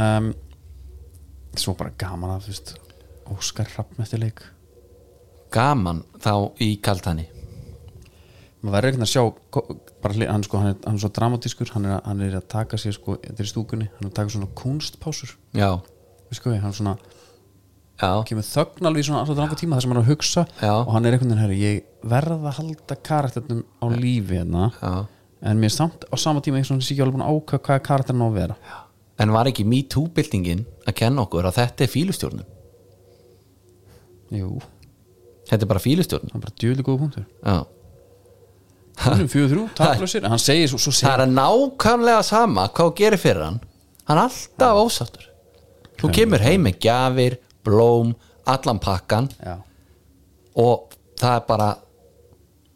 um, svo bara gaman að þú veist, Óskar Rapp eftir leik gaman þá í kaltani maður verður einhvern veginn að sjá ko- bara, hli- hann, sko, hann, er, hann er svo dramatískur hann er, að- hann er að taka sér sko, þetta er í stúkunni hann er að taka svona kunstpásur já, við sko, hann svona, já, kemur þögn alveg í svona alltaf dranga tíma þar sem hann er að hugsa Já. og hann er einhvern veginn, herri, ég verð að halda karakternum á lífi hérna já en mér er samt á sama tíma eins og hann sé ekki alveg búin að ákvæða hvað karakterin á að vera en var ekki MeToo-byltingin að kenna okkur að þetta er fílustjórnum jú, þetta er bara fílustjórnum hann er bara djöðlega góða punktur já hann er um fjögur þrjú, taklausir, en hann segir svo, svo það segir, er nákvæmlega sama hvað þú gerir fyrir hann hann er alltaf ósáttur þú kemur heim með gjafir, blóm allan pakkan já, og það er bara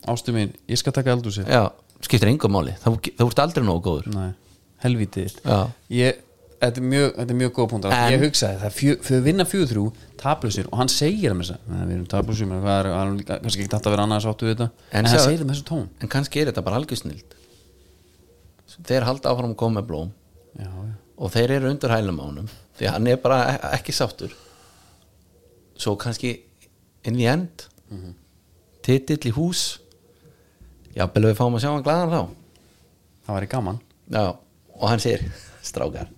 ástu mín, ég skal taka eldur sér já, skiptir engum máli þú, þú ert aldrei nógu góður Nei, helvítið þitt. Já. ég, þetta, er mjög, þetta er mjög góð punkt En- ég hugsaði það, fjö, fyrir að vinna fjögur þrjú tablusir og hann segir það með þess að við erum tablusir, menn hvað er, hann er líka- kannski ekki þetta að vera annars áttu við þetta, en, En hann sagði- segir það með þessu tón en kannski er þetta bara algjörsnild þeir halda áfram að koma með blóm já, já. og þeir eru undir hælum á honum því hann er bara e- ekki sáttur svo kannski inn í end mm Mhm. titill í hús já, byrjuðu við fáum að sjá hann glæðan þá það væri gaman Já, og hann segir strákar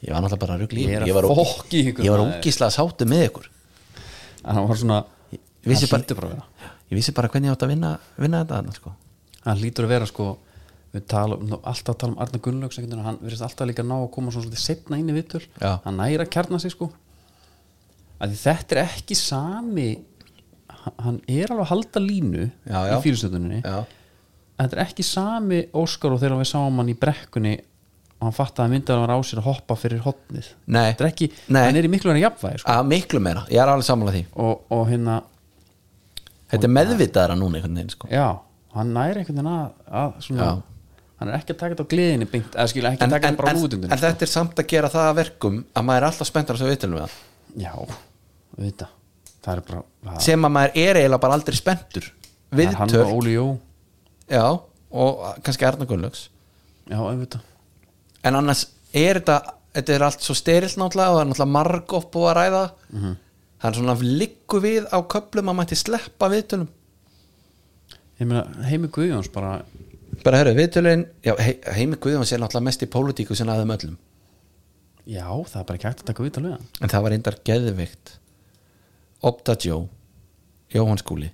ég var náttúrulega bara að rugla í Ég er ykkur. að ég var, fokka í ykkur, ég var maður. ógislega sáttu með ykkur en hann var svona, Ég vissi hann bara- hlýtur bara að vera ég vissi bara hvernig ég átt að vinna, vinna þetta annars, sko. hann hlýtur að vera sko við tala, um- alltaf tala um Arna Gunnlaugs einhvern veginn, hann verðist alltaf líka ná að koma svona svolítið setna inn í vittur, Já. hann næra að kjarna sig sko að þetta er ekki sami hann- hann er alveg að halda línu Já, já. í fyrirstöðuninni já, þetta er ekki sami Óskar og þegar við sáum hann í brekkunni og hann fattaði að myndaði að hann var á sér að hoppa fyrir hotnið Nei. þetta er ekki, Nei. hann er í miklu verið jafnvæði sko. að miklu meira, ég er alveg samlega því og, og hérna, þetta er meðvitaðara núna einhvern veginn sko. já hann næri einhvern veginn að, að svona, Já. hann er ekki að taka þetta á gleðinni beint, eða skilja ekki en, að en, taka en, þetta bara sko. á en, útundinu þetta er samt að gera það að verkum að maður er alltaf spenntar sem við tilum við það Já, auðvitað Það er bara það, sem að maður er eiginlega bara aldrei spenntur það er hann viðtöl, og Óli Jó já, og kannski Arna Gunnlaugs Já, auðvitað en annars er þetta þetta er allt svo sterilt náttúrulega og það er náttúrulega marg of búið að ræða Mhm. það er svona liggu við á köplum að mætti sleppa viðtölum Ég meina, Heimi Guðjóns bara bara herru, viðtölin, já, he, heimi Guðjón sé náttúrulega mest í pólitíku sinna aðeim öllum Já, það er bara ekki hægt að taka viðtal við hann en það var eindar geðvikt Opta Jó Jóhann Skúli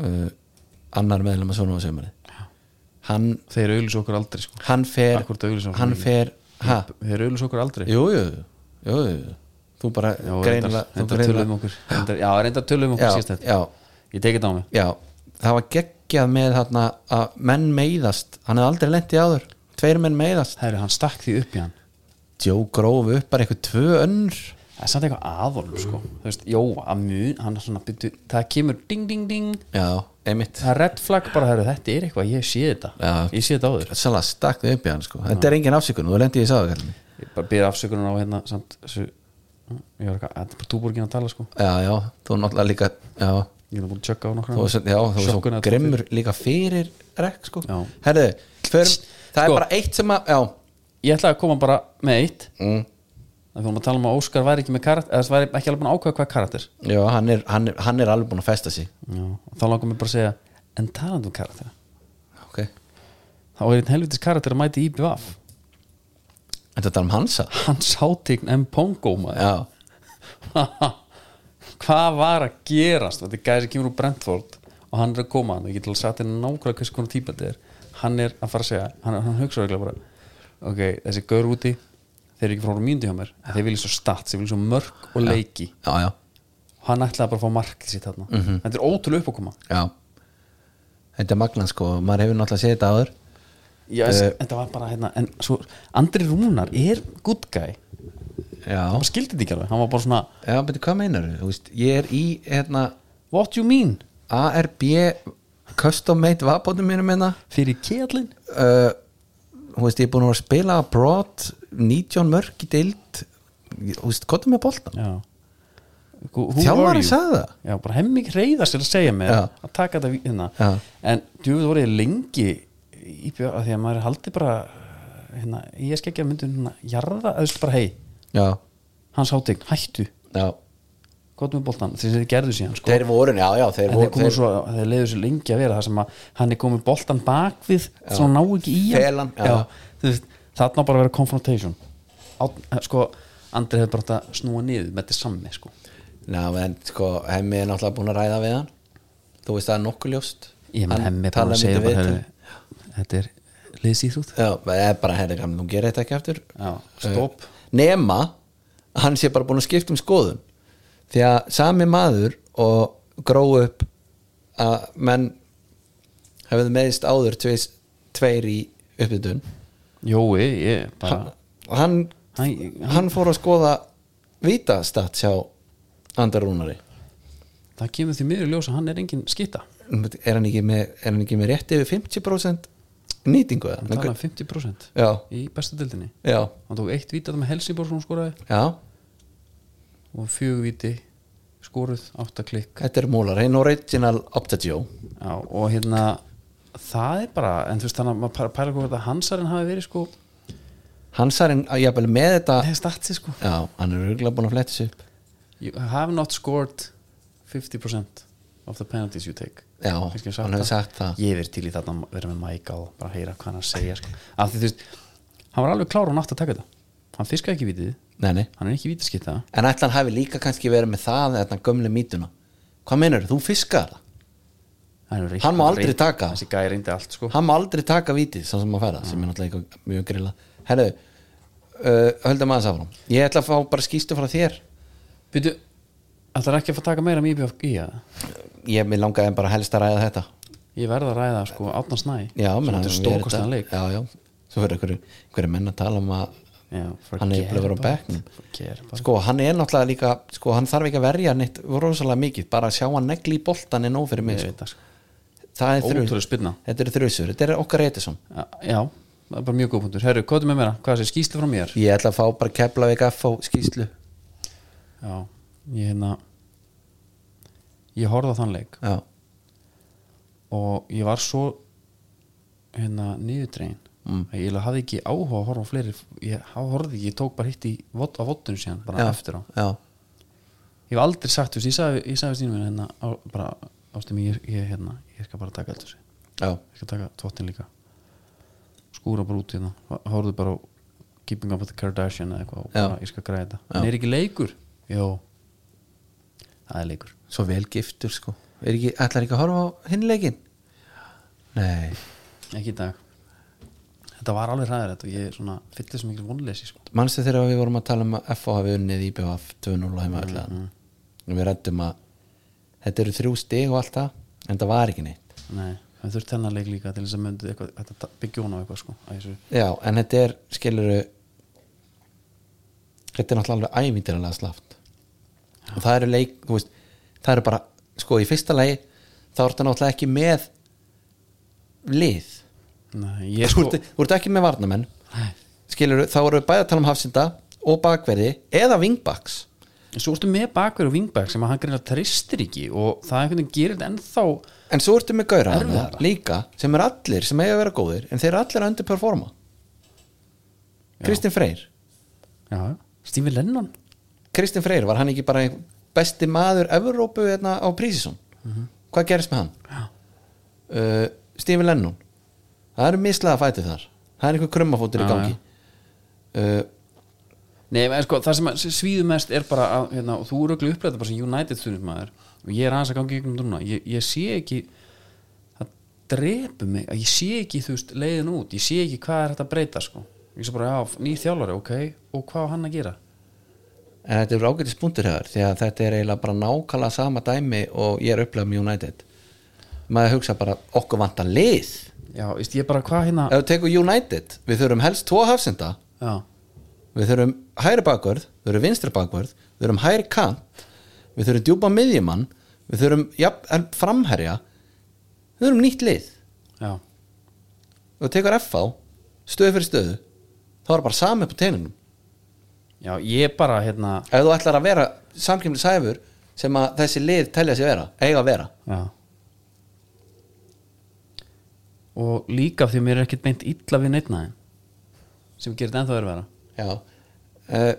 uh, annar meðlum að svona á sömari hann, Þeir auðlis okkur aldrei sko. hann fer Akkúrat að auglýsa á hann sömurinn. fer, ha, Þeir auðlis okkur aldrei jú, jú, jú, jú. þú bara Já, greinilega þú reynda greinilega- tölum um okkur reyndar, Já, reynda tölum um okkur Já, síst þetta já. Ég tekið það á mig Já, það var geggjað með þarna að menn meiðast hann hefði aldrei lent í áður, tveir menn meiðast Herru, hann stakk því upp í hann Jó gróf upp bara eitthvað tvö önnur Það er samt eitthvað aðorm sko. Þú veist, Jó, að mun, hann er svona byrju, Það kemur ding, ding, ding Já, einmitt Það er redd flagg bara, herru, þetta er eitthvað Ég sé þetta, Já. ég sé þetta áður Sannlega stakk þau upp í hann sko Þetta er engin afsökun, þú lendi í þessu áður kallinn. ég bara byrja afsökunar á hérna samt, þessu, ég var eitthvað, þetta er bara túborgin að tala sko Já, já, þú náttúrulega líka Já, ég er búin að tjökka á nokkra þú var svo, já, þú var Sjokkun svo eða grimmur líka fyrir rekk sko Já. Herðu, förum, það Sko. er bara eitt sem að Já, ég ætlaði að koma bara með eitt mm, það fórum að tala um að Óskar væri ekki með karakter eða þess væri ekki alveg búin að ákveða hvað karakter já hann, er, hann, er, hann er alveg búin að festa sig Já. og þá langar mér bara að segja en talandi um karakter okay. þá er einn helvitis karakter að mæti IBVF En þetta er um hansa hann sátign M. Pongo maður. Já, hvað var að gerast þetta er gæði sem kemur úr Brentford og hann er að koma hann, ég get alveg sagt henni nákvæmlega hvers konar típa þetta er hann er að fara að segja, hann, hann hugsa regla bara ok, þessi gaur úti þeir eru ekki frá mjöndu hjá mér, en þeir vilja svo stats þeir vilja svo mörg og leiki já, já hann ætlaði bara að fá markið sitt þarna Mhm. þetta er ótrúlega upp að koma Já Þetta er magnan sko, maður hefur náttúrulega séð þetta áður Já, uh, en það var bara hérna en svo Andri Rúnar er good guy Já, hann skildi þetta ekki alveg, hann var bara svona já betur hvað meinar þú? Veist, ég er í hérna, what you mean ARB custom made vapóttum mínum hérna fyrir kjallin uh, þú veist, ég er búin að vera að spila abroad 19 mörg í deild þú veist, hvað er með bolta? já Who- who are Þjálfari you? sagði það já, bara hemming reyða sér að segja mér Já. að taka þetta við- hérna Já. en djúfið voru ég lengi í björn, því að maður haldi bara hérna, ég skal ekki að myndun hérna, jarða, eða þú veist bara hei Já, hans hátegn, hættu, já gott með boltan þeir sem þeir gerðu síðan, sko Þeir voru, já, já, þeir en þeir voru komu svo, þeir leiðu svo lengi að vera það sem að hann er komið boltan bakvið svo hann ná ekki í hann Felan, já. þú veist, þarna á bara að vera confrontation á, sko, Andri hefur bara átt að snúa niður með þetta sammi sko. Ná, en sko, hemmi er náttúrulega búin að ræða við hann Þú veist, það er nokkuð ljóst ég menn Hann hemmi er talaði bara að segja mikið við bara, til- heru, þetta er liðsýþrúð Já, það er bara herri gamli, nú gerir þetta ekki aftur Já, stopp. Eh, Nema, hann sé bara búin að skipta um skoðun Því að sami maður og gró upp að menn hefðu meðist áður tveis, tveir í uppbytun Jói, ég bara hann, hann, Hann- hann fór að skoða vítastatt hjá Andar Rúnari það kemur því miður í ljós að hann er engin skita er hann, ekki með, er hann ekki með rétt yfir 50% nýtingu eða? hann talaði um 50% Já, í bestu dildinni já, hann tók eitt vítið með Helsingborg sem hún skoraði já og fjögur víti skoruð, átta klikk Þetta er múlar, hinn original Optatio Já, og hérna það er bara, en þú veist þannig að maður pæ- pæla hvað þetta hansarinn hafi verið sko Hansarinn, að jafnvel með þetta hefði statsi sko, Já, hann er auðvitað búin að fletta sér upp you have not scored 50% of the penalties you take Já, Kannski sagt hann hefur sagt það ég verið til í þarna að vera með Michael bara að heyra hvað hann er að segja sko. af því þú veist, hann var alveg klár og nátt að taka þetta hann fiskaði ekki vitið, nei, nei. hann er ekki vítaskitta En ætla hann hafi líka kannski verið með það Þetta gömlu mítuna Hvað meinar, þú fiskar það? hann, er Hann má aldrei reynd- taka. þessi gæði reyndi allt sko Hann má aldrei taka vítið, sá sem að færa Sem er náttúrulega eitthvað mjög grilla Herðu, uh, höldum aðeins áfram Ég ætla að fá bara skýstu frá þér Býtu, ætlar ekki að fá að taka meira um IBF í að Ég vil langaði bara helst að ræða þetta ég verð að ræða sko átna snæ Já, menn þetta er stókostan leik Já, já, svo fyrir einhverju, einhverju menn að tala um að Já, Hann er bara að vera á forget bekknum. about- forget about- Sko, hann er náttúrulega líka Sko, hann þarf ekki að verja neitt rosalega mikið Bara að sjá hann negli í boltan er nóg fyrir mig Ég sko. veit það, sko. Það er Ótrúlega þrjus spilna Þetta er þrjusur, þetta er okkar Edison Já, Já, það er bara mjög góð punktur Herru, hvað er með meira? Hvað er sér skýslu frá mér? Ég ætla að fá bara Keflavík F á skýslu Já, ég hérna Ég horfði á þann leik Já, og ég var svo hérna niðurdregin Mm. að ég eiginlega hafði ekki áhuga að horfa á fleiri ég há- horfði ekki, ég tók bara hitt í vott, á vottunum síðan, bara já, eftir á já, ég hef aldrei sagt, þú veist, ég sagði, ég sagði stínum minna hérna, á, bara, ástum, ég, ég hérna ég skal bara taka allt þessu já, ég skal taka tóttin líka skúra bara út hérna hóruðu bara á Keeping Up With The Kardashian eða eitthvað og Já. bara ég skal græða þetta Já. en er ekki leikur? Jó það er leikur svo vel giftur sko Er ekki, ætlar ekki að horfa á hinleikin? Nei, ekki í dag þetta var alveg hræður þetta og ég svona fyllti svo mikil vonleysi sko. manstu þegar við vorum að tala um að F hafi unnið IBF 2-0 heima allan Mhm. mm Við rættum að Þetta eru þrjú stig og allt það En það var ekki neitt nei, það þurft hennar leik líka til þess að myndið eitthvað þetta ta- byggja hún á eitthvað sko að þessu Já, en þetta er, skiluru Þetta er náttúrulega alveg ævindirilega slaft og það eru leik, þú veist það eru bara, sko, í fyrsta lagi þá er þetta náttúrulega ekki með lið nei, ég þú, sko ert, þú ert ekki með varnamenn nei, skiluru, þá eru við bæði að tala um hafsinda og bakverði eða vingbaks svo ertu með bakverð og vingbæk sem að hann greinlega tristir ekki og það einhvern veginn gerir þetta ennþá en svo ertu með gaura Erfiðara. þarna líka sem er allir, sem eiga að vera góðir en þeir eru allir að underperforma Kristinn Freyr já, Stífi Lennon Kristinn Freyr, var hann ekki bara einn besti maður Evrópu hérna á prísisum hvað gerist með hann? Uh, Stephen Lennon það eru mislega fætið þar það er einhver krummafótur í Já, gangi uh, Nei, en sko, það sem að svíðu mest er bara að, hérna, og þú eru öllu upplæta bara sem United stundismæður og ég er aðeins að gangi ykkur um núna ég, ég sé ekki það drepu mig, að ég sé ekki þú veist, leiðin út, ég sé ekki hvað er þetta að breyta sko. ég sé bara, já, ný þjálfari, ok og hvað á hann að gera? en þetta er ágætis punktur hefur því að þetta er eiginlega bara nákvæmlega sama dæmi og ég er upplegað með United maður hugsa bara okkur vantar lið já, veist, ég bara hvað hérna ef við tekum United, við þurfum helst tvo hafsenda já, við þurfum hæri bakvörð við þurfum vinstri bakvörð, við þurfum hæri kant við þurfum djúpa miðjumann við þurfum jafn, framherja við þurfum nýtt lið já, og tekur FH stöðu fyrir stöðu þá er bara sami på teininum já, ég bara hérna ef þú ætlar að vera samkjöfnisæfur sem að þessi lið telja sér vera eiga að vera Já Og líka af því að mér er ekkert beint illa við neittna þeim sem gerir þetta ennþá erfæra já uh,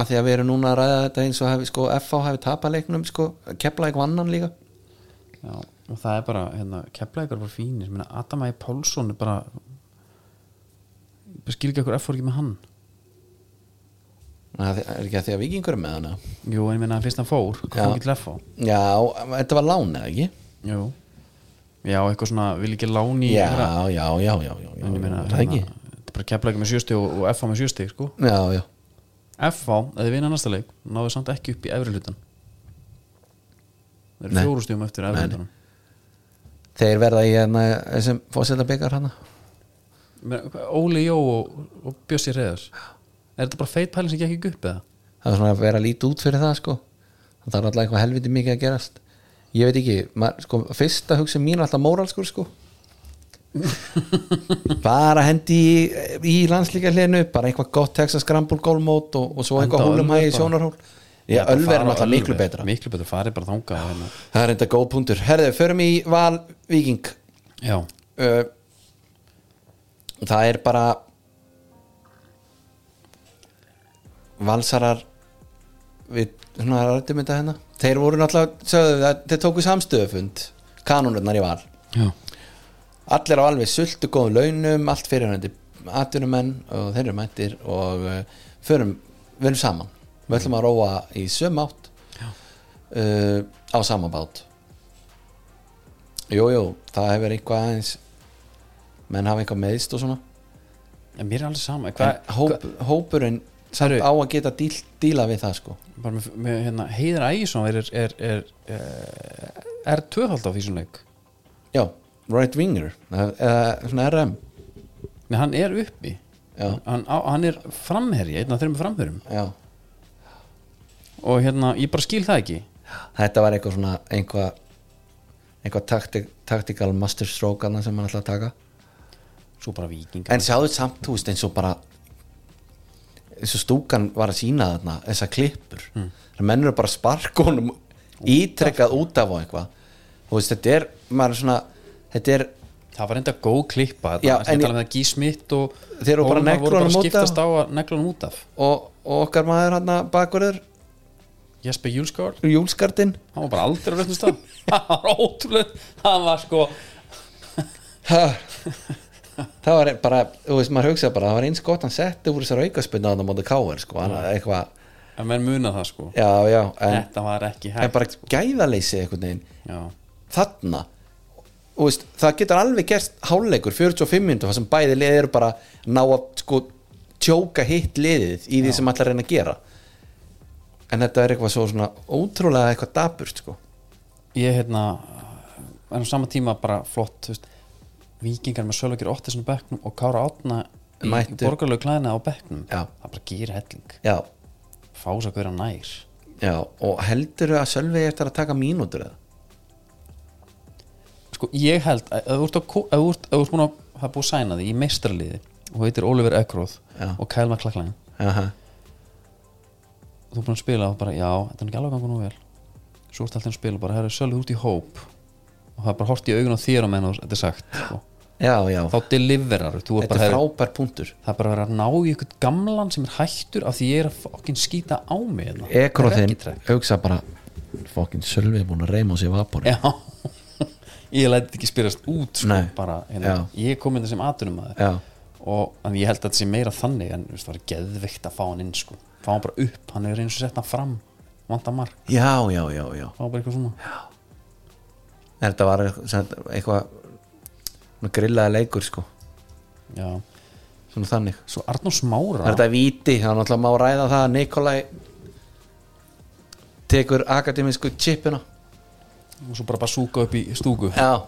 að því að við erum núna að ræða þetta eins og hefði sko FH hefði tapað leiknum sko kepla eitthvað annan líka Já, og það er bara, hérna, kepla ykkur bara fínir, meina Adamæi Pálsson er bara bara skil ekki okkur F-fór ekki með hann Nei, það er ekki að því að vikingur er með hana Jú, en ég meina fyrst hann fór, hvað Já. fór ekki til F-fó já, þetta var lán eða ekki Jú Já, eitthvað svona, vil ekki láni já, þeirra. já, já, já, já, já, En ég meina, er það ekki hérna, þetta er bara kepla ykkur með sjösti og, og F-fó með sjösti, sko já, já, F-fá, eða vinna næsta leik náðu samt ekki upp í efri hlutan Það eru Nei. fjórustjum eftir efri Nei, nei. hlutanum þeir verða í hérna sem fórseta byggar hana Men, hvað, Óli Jó og, og Bjössi Reyðars er þetta bara feit pæling sem gekk ekki upp eða? það er svona að vera lítið út fyrir það sko það þarf alltaf eitthvað helviti mikið að gerast ég veit ekki, maður, sko, fyrsta hugsun mín er alltaf móralskur sko bara hendi í, í landslíka hlinu bara eitthvað gott Texas Scramble gólmót og, og svo Henda eitthvað hólum hægi Ölver bara. sjónarhól já, Þetta ölver fara er á alltaf miklu Ölver. betra miklu betra, farið bara þangað hérna. það er enda góð punktur, herðu, förum í Val Viking já, uh, það er bara valsarar við svona rættum þetta hérna þeir voru náttúrulega, sögðu það, þeir tóku samstöðufund kanónurnar í val já, allir á alveg sultu góðum launum allt fyrir hændi atvinnumenn og þeir eru mættir og uh, förum, við erum saman við ætlum að róa í söm átt uh, á sama bát jújú, jú, það hefur eitthvað aðeins menn hafa eitthvað meðist og svona en mér er alveg sama Hva, en hóp, hópurinn Særu, á að geta díl, díla við það sko bara með, með hérna, Heiðar Ægisson er, er, er, er, er tvöfald á því sem leik já, right winger eða svona RM en hann er uppi já, hann, á, hann er framherji, einn af þeirra með framherjum já og hérna, ég bara skil það ekki þetta var eitthvað svona eitthvað, eitthvað taktik, taktikal masterstroke annað sem hann ætlaði að taka svo bara vikingar en sjáðu samt, þú veist, eins og bara eins og stúkan var að sína þarna þessa klippur mm. það mennur bara sparkunum ítrekkað út af og eitthvað þú veist, þetta er, maður er svona þetta er, það var enda góð klippa Já, þetta en er ég- talað með Gí Smith og Þeir eru bara Hólmar voru bara neglunum út af. skiptast á að neglunum út af og, og okkar maður hann bakverður, Jesper Júlsgaard, júlskardinn hann var bara aldrei á réttum stað það var ótrúlega það var sko, Ha. það var bara, þú veist, maður hugsaði bara það var eins gott hann setti úr þessar aukaspunna þannig á móti káir, sko, hann eitthvað en menn muna það sko já, já, en, þetta var ekki en hægt bara gæðaleysi einhvern veginn já, þarna Þú veist, það getur alveg gerst hálfleikur 45 minnum þar sem bæði liðið eru bara að ná að sko tjóka hitt liðið í því sem allar reyna að gera en þetta er eitthvað svo svona ótrúlega eitthvað dapurt sko ég hérna en á sama tíma bara flott þú veist, vikingar með Sölvökir Ottesen á bekknum og Kára Átna í, í Mættu. borgarlegu klæðina á bekknum Já. það bara gýr helling, já, fá þess að hverja nær já, og heldur að Sölvi eftir að taka mínútur eða? sko ég held að ef þú ert, að, ko- ef þú ert, ef þú ert búin að hafa búið að sæna því í meistraliði og heitir Oliver Ekroð Já. og Kyle McLachlan Aha. og þú er búin að spila og bara já, þetta er nú ekki alveg gangu nú vel svo ert alltaf að spila og bara, herru, sölðu út í hóp og það er bara hort í augun á þér á menn og þetta er sagt sko. já, já, þá deliverar þú er þetta bara, er herru, frábær punktur það er bara að vera að ná í ykkur gamlan sem er hættur af því ég er að fokkin skýta á mig hérna. ekroðinn Rekkitrekk. hugsa bara fokkin Sölvi er búin að reyma á sig vapor já ég læti þetta ekki spyrast út sko, Nei. bara, hérna, ég kom inn þessum atunum að já, og en ég held að þetta sé meira þannig en þú veist, það var geðvikt að fá hann inn sko. fá hann bara upp, hann er eins og sett hann fram vanda mark, já, já, já, já. fá bara eitthvað svona þetta var sem sagt eitthvað svona grillaða leikur sko já. svona þannig svo Arnó Smára það er þetta viti, það er náttúrulega má ræða það að Nikolai tekur akademísku chipina og svo bara bara súka upp í stúku já,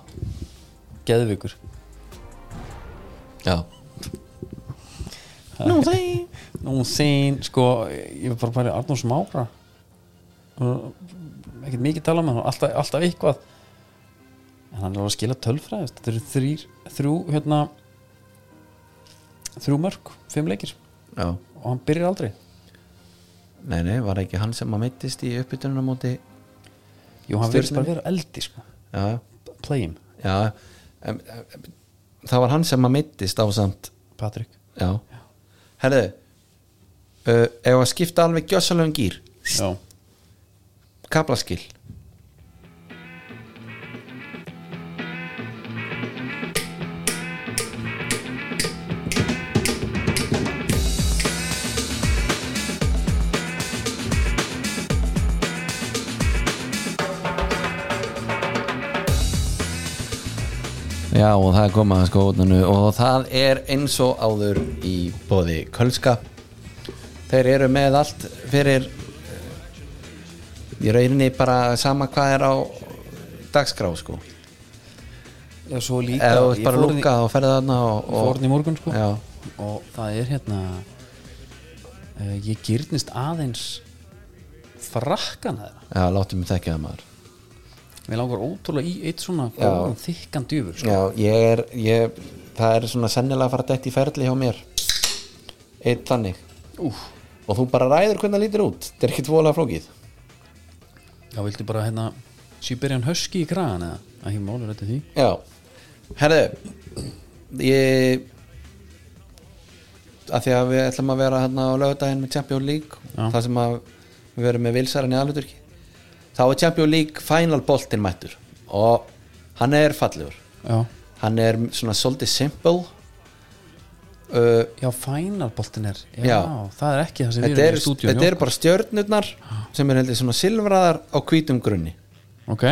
geðvikur Já, Nú þein Nú þein, sko, ég var bara bara Arnús Mára ekkert mikið tala með hann alltaf, alltaf eitthvað en hann er alveg að skila tölfræði þetta eru þrýr, þrjú hérna þrjú mörg, fimm leikir já og hann byrjar aldrei Nei, nei, var ekki hann sem að meittist í uppbytunum á móti Jú, hann verðist bara að vera á eldi, sko Já, play him, já em, em, em, Það var hann sem að meittist á samt Patrik Já, herðu uh, Ef að skipta alveg gjössalöfum gýr Já, Kaplaskil Já og það er komað að skóðnunu og það er eins og áður í bóði Kölska Þeir eru með allt fyrir í rauninni bara sama hvað er á dagskrá sko Já svo líka eða þú ert ég bara fór að inn í- lúka og ferði þarna og, og fórn í og morgun sko Já. og það er hérna uh, ég gyrnist aðeins frakkan þeirra já, láttu mig þekkja það maður mér langar ótrúlega í eitt svona Já. góðan þykkan djöfur sko. já, ég er, ég, það er svona sennilega að fara dætt í ferli hjá mér eitt þannig Úf, og þú bara ræður hvernig það lítur út þetta er ekki tvolega flókið já viltu bara hérna Siberian Husky í kragan eða að ég máli rætti því já, herðu ég að því að við ætlum að vera hérna á laugardaginn með Champions League Já. það sem að við verum með vilsarinn í aðluturki þá er Champions League final boltinn mættur og hann er fallegur já, hann er svona svolítið simple uh, já fænarboltin er já, Já. það er ekki það sem við þetta, erum er, í stúdíu þetta er bara stjörnurnar Ah. sem er heldur svona silfraðar á hvítum grunni ok,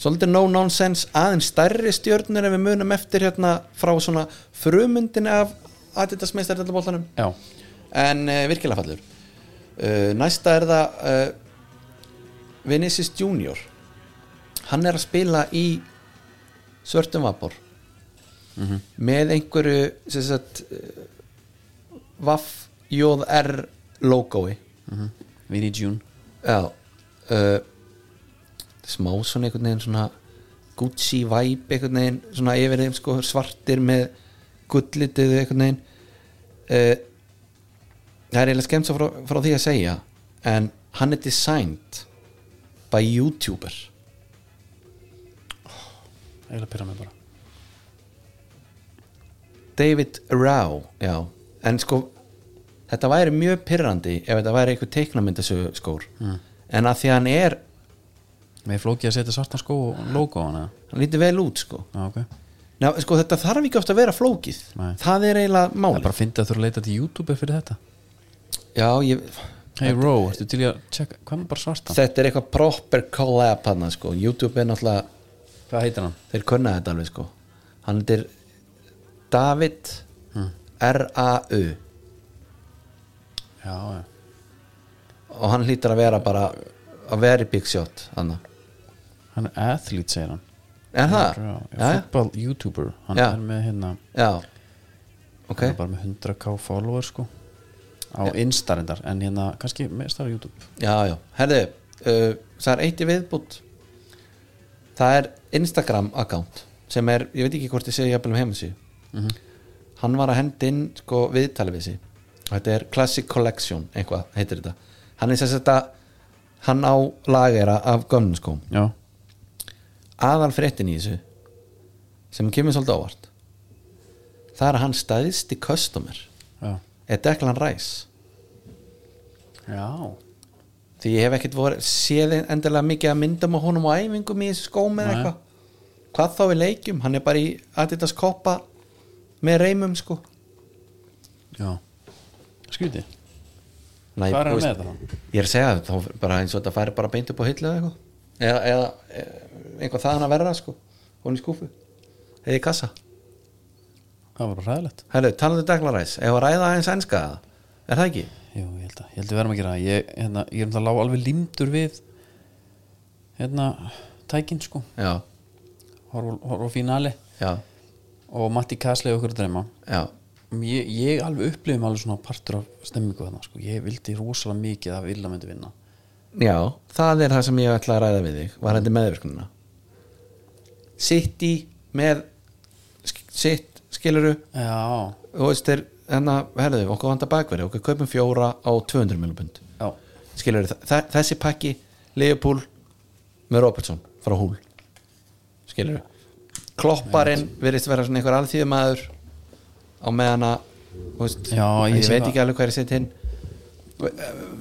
svolítið no nonsense aðeins stærri stjörnur en við munum eftir hérna frá svona frumundin af Adidas meistardeltabóltanum já, en uh, virkilega fallur uh, næsta er það uh, Vinicius Junior hann er að spila í svörtum vapor með einhverju sem sagt uh, Vaff Jóð-R logoi Vinnie June já uh, smá svona einhvern veginn svona Gucci vibe einhvern veginn svona yfir þeim sko svartir með gullitið einhvern veginn uh, það er eiginlega skemmt svo frá, frá því að segja en hann er designed by youtuber eiginlega pyrra mig bara David Rao já. en sko þetta væri mjög pyrrandi ef þetta væri einhver teiknamyndasögu skór en að því að hann er, mér er flókið að setja svartan skó og logo á hana hann lítur vel út sko já, ok, Ná, sko, þetta þarf ekki oft að vera flókið Nei. það er eiginlega það máli er bara að fyndi að þú eru að leita til YouTube fyrir þetta já, ég, Hey Ró, ertu til í að tjekka, hvað með bara svartan? þetta er eitthvað proper collab hann sko. YouTube er náttúrulega Hvað heitir hann? þeir kunna þetta alveg sko. hann er David Hm. R-A-U Já, já, og hann hlýtur að vera bara a very big shot hann hann er athlete, segir hann er það? Ró, já, já, Football YouTuber, hann Já. er með hérna já. ok, hann er bara með 100k follower sko á instarindar, en hérna kannski mest á YouTube já, já herðu, uh, það er eitt í viðbútt það er Instagram account sem er, ég veit ekki hvort ég segi jafnvel um heimasíu hann var að hendi inn sko viðtali við sig og þetta er Classic Collection eitthvað heitir þetta hann er sem sagt að hann á lagera af gömnum skóm Já, aðal fréttin í þessu sem kemur svolítið ávart það er að hann stæðist í customer já, eða Declan Rice já því ég hef ekkert voru, séð endilega mikið að myndum á honum og æfingum í þessu skóm eða Nei. eitthvað hvað þá við leikjum, hann er bara í Adidas koppa með reymum sko já Skrýti, Nei, hvað er þú hann veist- með þetta? þá? Ég er að segja það, þá bara eins og þetta færi bara beint upp á hillu eða eitthvað eða, eða, eða einhvað þaðan að verra sko hún í skúfu, eða í kassa Það var bara hræðilegt Herru, talaðu deglaræs, ef að ræða aðeins enska það, er það ekki? Jú, ég held að, ég held að við verðum að gera það Ég, hérna, ég er um það lág alveg lindur við hérna, tækin sko Já, horf á- horf á fínali já, og Matti Kaslega okkur að dreyma já, ég, ég alveg upplifum alveg svona partur af stemmingu þarna sko. ég vildi rosalega mikið að Villa myndi vinna já, það er það sem ég ætla að ræða við þig var þetta meðverkunina sitt í með sk- sitt, skiluru já, og veist þeir, hérna, herðu, okkur vantar bakverði okkur kaupum fjóra á 200 miljónbund já, skilur þið, þessi pakki Leopold með Robertson frá húl skilur klopparinn virðist vera svona einhver alþýðumæður á meðan að þú veist, Já, ég ég sé veit það. ekki alveg hvað er sitt hinn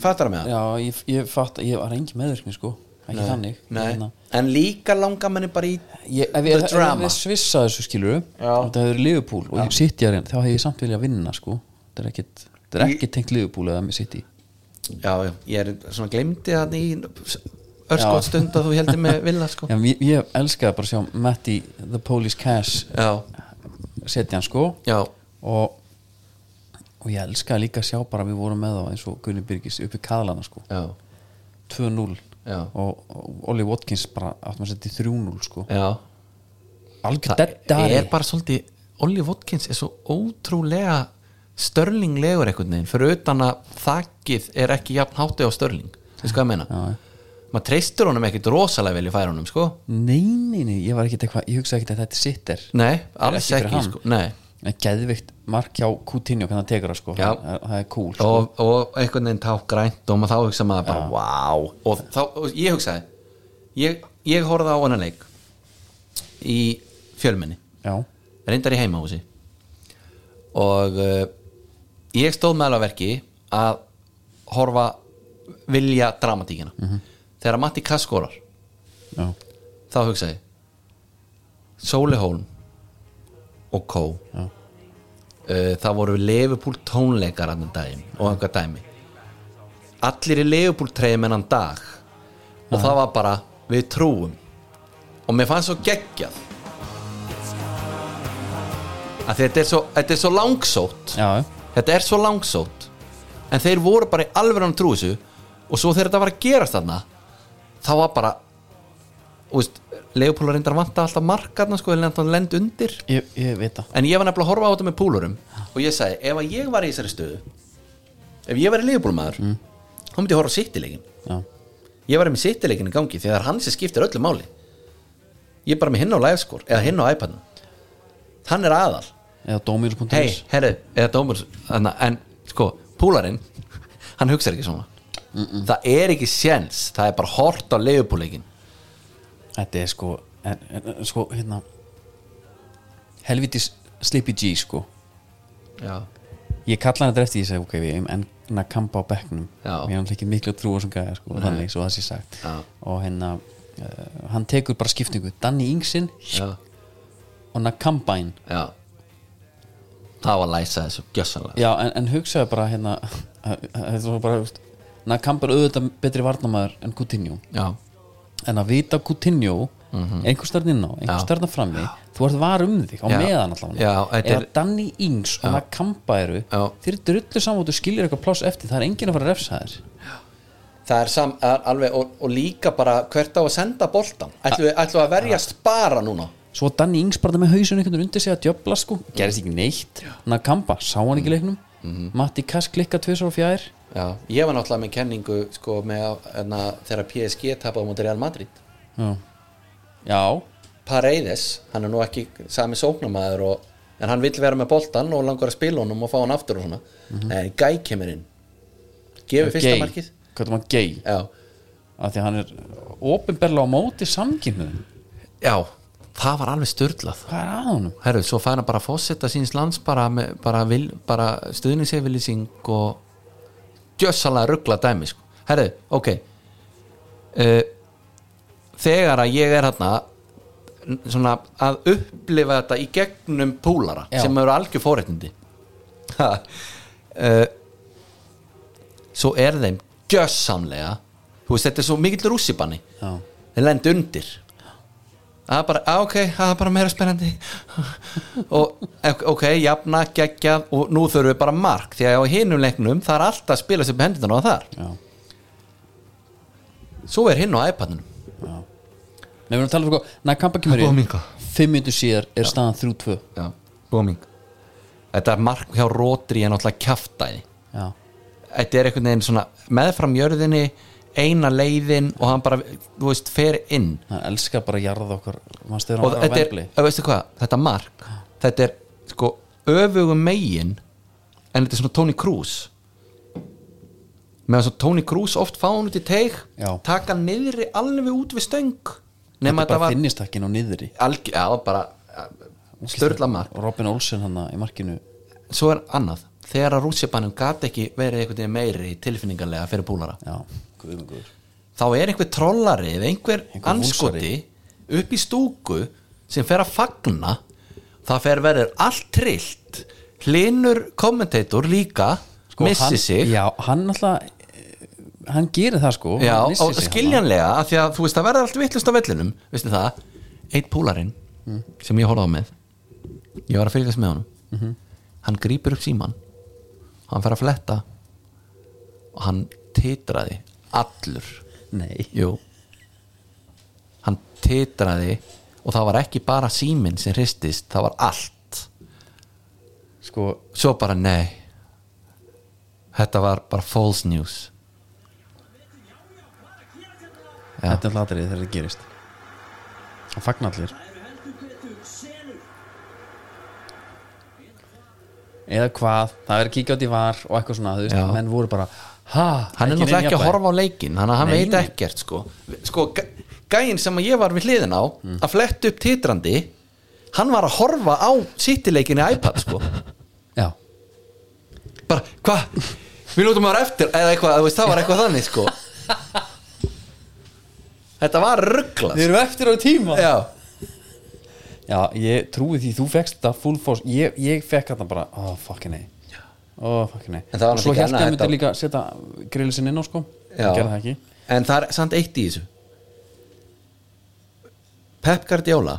fattar það með það? já ég, ég fatt ég var engin meðvirkni sko ekki þannig Nei. Hérna, en líka langar manni bara í ég, ef ég The ef ég drama. hefði svissað þessu skilur þetta hefur Liverpool og ég sitt ég að reyna þá hefði ég samt vilja að vinna sko þetta er ekkit, þetta er ekkit tengt Liverpool eða með sitt í já, já, ég er svona glemdi það í örskot stund að þú heldur með vilja sko já, ég, ég elskaði bara að sjá Matti the Police Cash eh, já, setja hann sko já, og, og ég elskaði líka að sjá bara að við vorum með þá eins og Gunni Byrgis upp í kaðlana sko já, 2-0 Já. og, og Ollie Watkins bara áttum að setja í 3-0 sko já. algjör það deadari er bara svolítið Olli Watkins er svo ótrúlega störlinglegur einhvern veginn fyrir utan að þakkið er ekki jafn hátið á störling þú veist hvað ég meina maður treystur honum ekkit rosalega vel í færunum sko nei, nei, nei, ég var ekkit eitthvað ég hugsaði ekkit að þetta sitt er nei, alls ekki fyrir ekki, hann. sko nei. en geðvikt mark hjá Coutinho hvernig hann tekur það sko, Já. það, það er cool sko. og, og einhvern veginn ták grænt og maður þá hugsa maður bara, wow og, þá, og ég hugsaði ég, ég horfði á hennar leik í fjölmenni já, reyndar í heimahúsi og uh, ég stóð með alveg að verki að horfa vilja dramatíkina þegar Matti Kass skorar já, þá hugsaði ég, Sóli Hólm og Kó Já. uh, það voru Liverpool tónleikar annan daginn og einhver dæmi allir í Liverpool treyjum ennan dag og það var bara við trúum og mér fannst svo geggjað að þetta er svo, þetta er svo langsótt já, þetta er svo langsótt en þeir voru bara í alveg trú þessu og svo þegar þetta var að gerast þarna þá var bara úst, Leopold reyndar vanta alltaf markarna sko, en hann lend undir ég, ég veit það en ég var nefnilega að horfa á þetta með púlurum og ég sagði, ef að ég var í þessari stöðu ef ég var í Leopoldmaður mm. þá myndi ég horfa á sittilegin já, ég var með sittilegin í gangi þegar hann sem skiptir öllu máli ég er bara með hinn á livescore eða hinn á iPadnum hann er aðal eða Dómil.is hei, herri, eða dómur anna, en sko, púlarinn hann hugsa ekki svona það er ekki séns, það er bara hort á leifupúleikin þetta er sko, en, en, en, sko hérna helvitis Sleepy G sko já, ég kalla hann þetta eftir ég segi ok við erum enn að kampa á bekknum Já. ég hann ekki miklu að trúa sem gæja sko, þannig svo það sé sagt Já. og hérna uh, hann tekur bara skiptingu Danny Ingsinn já, og Nakambain já það var að læsa þessu gjössanlega já en, en hugsaðu bara hérna þetta er svo bara veist, Nakamba er auðvitað betri varnamaður en Coutinho já, en að vita Coutinho mm -hmm. einhver stærn inn á, einhver Mhm. Já. stærn að frammi þú ert var um þig á Já. meðan allavega Já, þetta ef er- að Danny Ings og Nakamba eru Já. þeir eru drullu saman og þú skilir eitthvað pláss eftir það er enginn að fara að refsa þér það er sam, er alveg og, og líka bara hvert á að senda boltan ætlum við ætlum við að verjast bara núna svo Danny Ings bara með hausun einhvern veginn undir sig að djöfla sko, gerðist ekki neitt Nakamba, sá hann ekki í leiknum Mhm. Matti Kass klikka tvisar og fjær já, ég var náttúrulega með kenningu sko með enna, þegar PSG tapaði mútið Real Madrid já, já. Paredes, hann er nú ekki sami sóknamaður og, en hann vill vera með boltan og langar að spila honum og fá hann aftur og svona nei, Gæ kemur inn gefur fyrsta gay, markið hvað er maður gay já. af því að hann er ofinberlega á móti samkynnuðum já, það var alveg störlað hvað er að honum? herru, svo fær hann bara fósetta síns lands bara, með- bara, vil- bara stuðningsefilýsing og gjössalega ruggla dæmi sko. herru, ok uh, þegar að ég er hérna svona að upplifa þetta í gegnum púlara Já. sem eru algjör fóréttindi uh, svo er þeim gjössamlega þú veist, þetta er svo mikill rússibanni Já. þeir lend undir það er bara, á, ok, það er bara meira spennandi og ok, jafna, geggjað og nú þurfum við bara mark því að á hinum leiknum það er alltaf að spila sér upp hendutan á þar já, svo er hinn á iPadunum já Nei, við erum að tala um sko, Nakamba kemur Hvað inn minga? fimm minnur síðar er staðan 3-2 já, booming þetta er mark hjá rótri en alltaf kjaftaði já, þetta er einhvern veginn svona meðfram jörðinni eina leiðin og hann bara, þú veist, fer inn hann elskar bara að jarða okkur mannst þegar og hann var á þetta er, vembli að veistu hvað, þetta mark þetta er sko öfugum megin en þetta er svona Tony Cruz meðan svona Tony Cruz oft fá hann út í teig Já. taka hann niðri alveg út við stöng þetta nema er þetta bara var finnistakkin á niðri algjör, já, bara störla mark og Robin Olsen hann í markinu svo er annað, þegar að rússipannum gat ekki verið einhvern veginn meiri tilfinningarlega fyrir búlara já, guðum guður þá er einhver trollari eða einhver, Einhver anskoti upp í stúku sem fer að fagna það fer verður allt trillt hlinur kommentator líka missi Sko, hann, sig já, hann alltaf eh, hann gerir það sko Já, hann og missir sig hann. skiljanlega af því að þú veist það verður allt vittlust á vellinum veistu það, eitt púlarinn Mm. sem ég horfði á með ég var að fylgjast með honum Mhm. hann grípur upp síman hann fer að fletta og hann titraði allur nei, Jú Hann titraði og það var ekki bara síminn sem hristist, það var allt sko Svo bara nei Þetta var bara false news Já. þetta er hlatrið þegar þetta gerist hann fagnar allir eða hvað, það er að kíkja á því var og eitthvað svona, þú veist, Já. menn voru bara ha, Hann er náttúrulega ekki að horfa á leikin Þannig að hann Nei, veit nei. ekkert sko Sko, gæ- gæinn sem að ég var við hliðin á Mm. að fletta upp titrandi Hann var að horfa á sittileikin í iPad sko já, Bara, hvað? Við lútum að vera eftir eða eitthvað, þú veist, það var eitthvað þannig sko Þetta var ruggla þið eru eftir á tíma Já já, ég trúi því, þú fekst þetta full force, ég, ég fekk þetta bara oh, fucking nei oh, fucking nei, En það var og svo held ég náttúrulega ekki að annað myndi þetta- líka setja grillisinn inn á sko, Já. gerði það ekki En það er samt eitt í þessu Pep Guardiola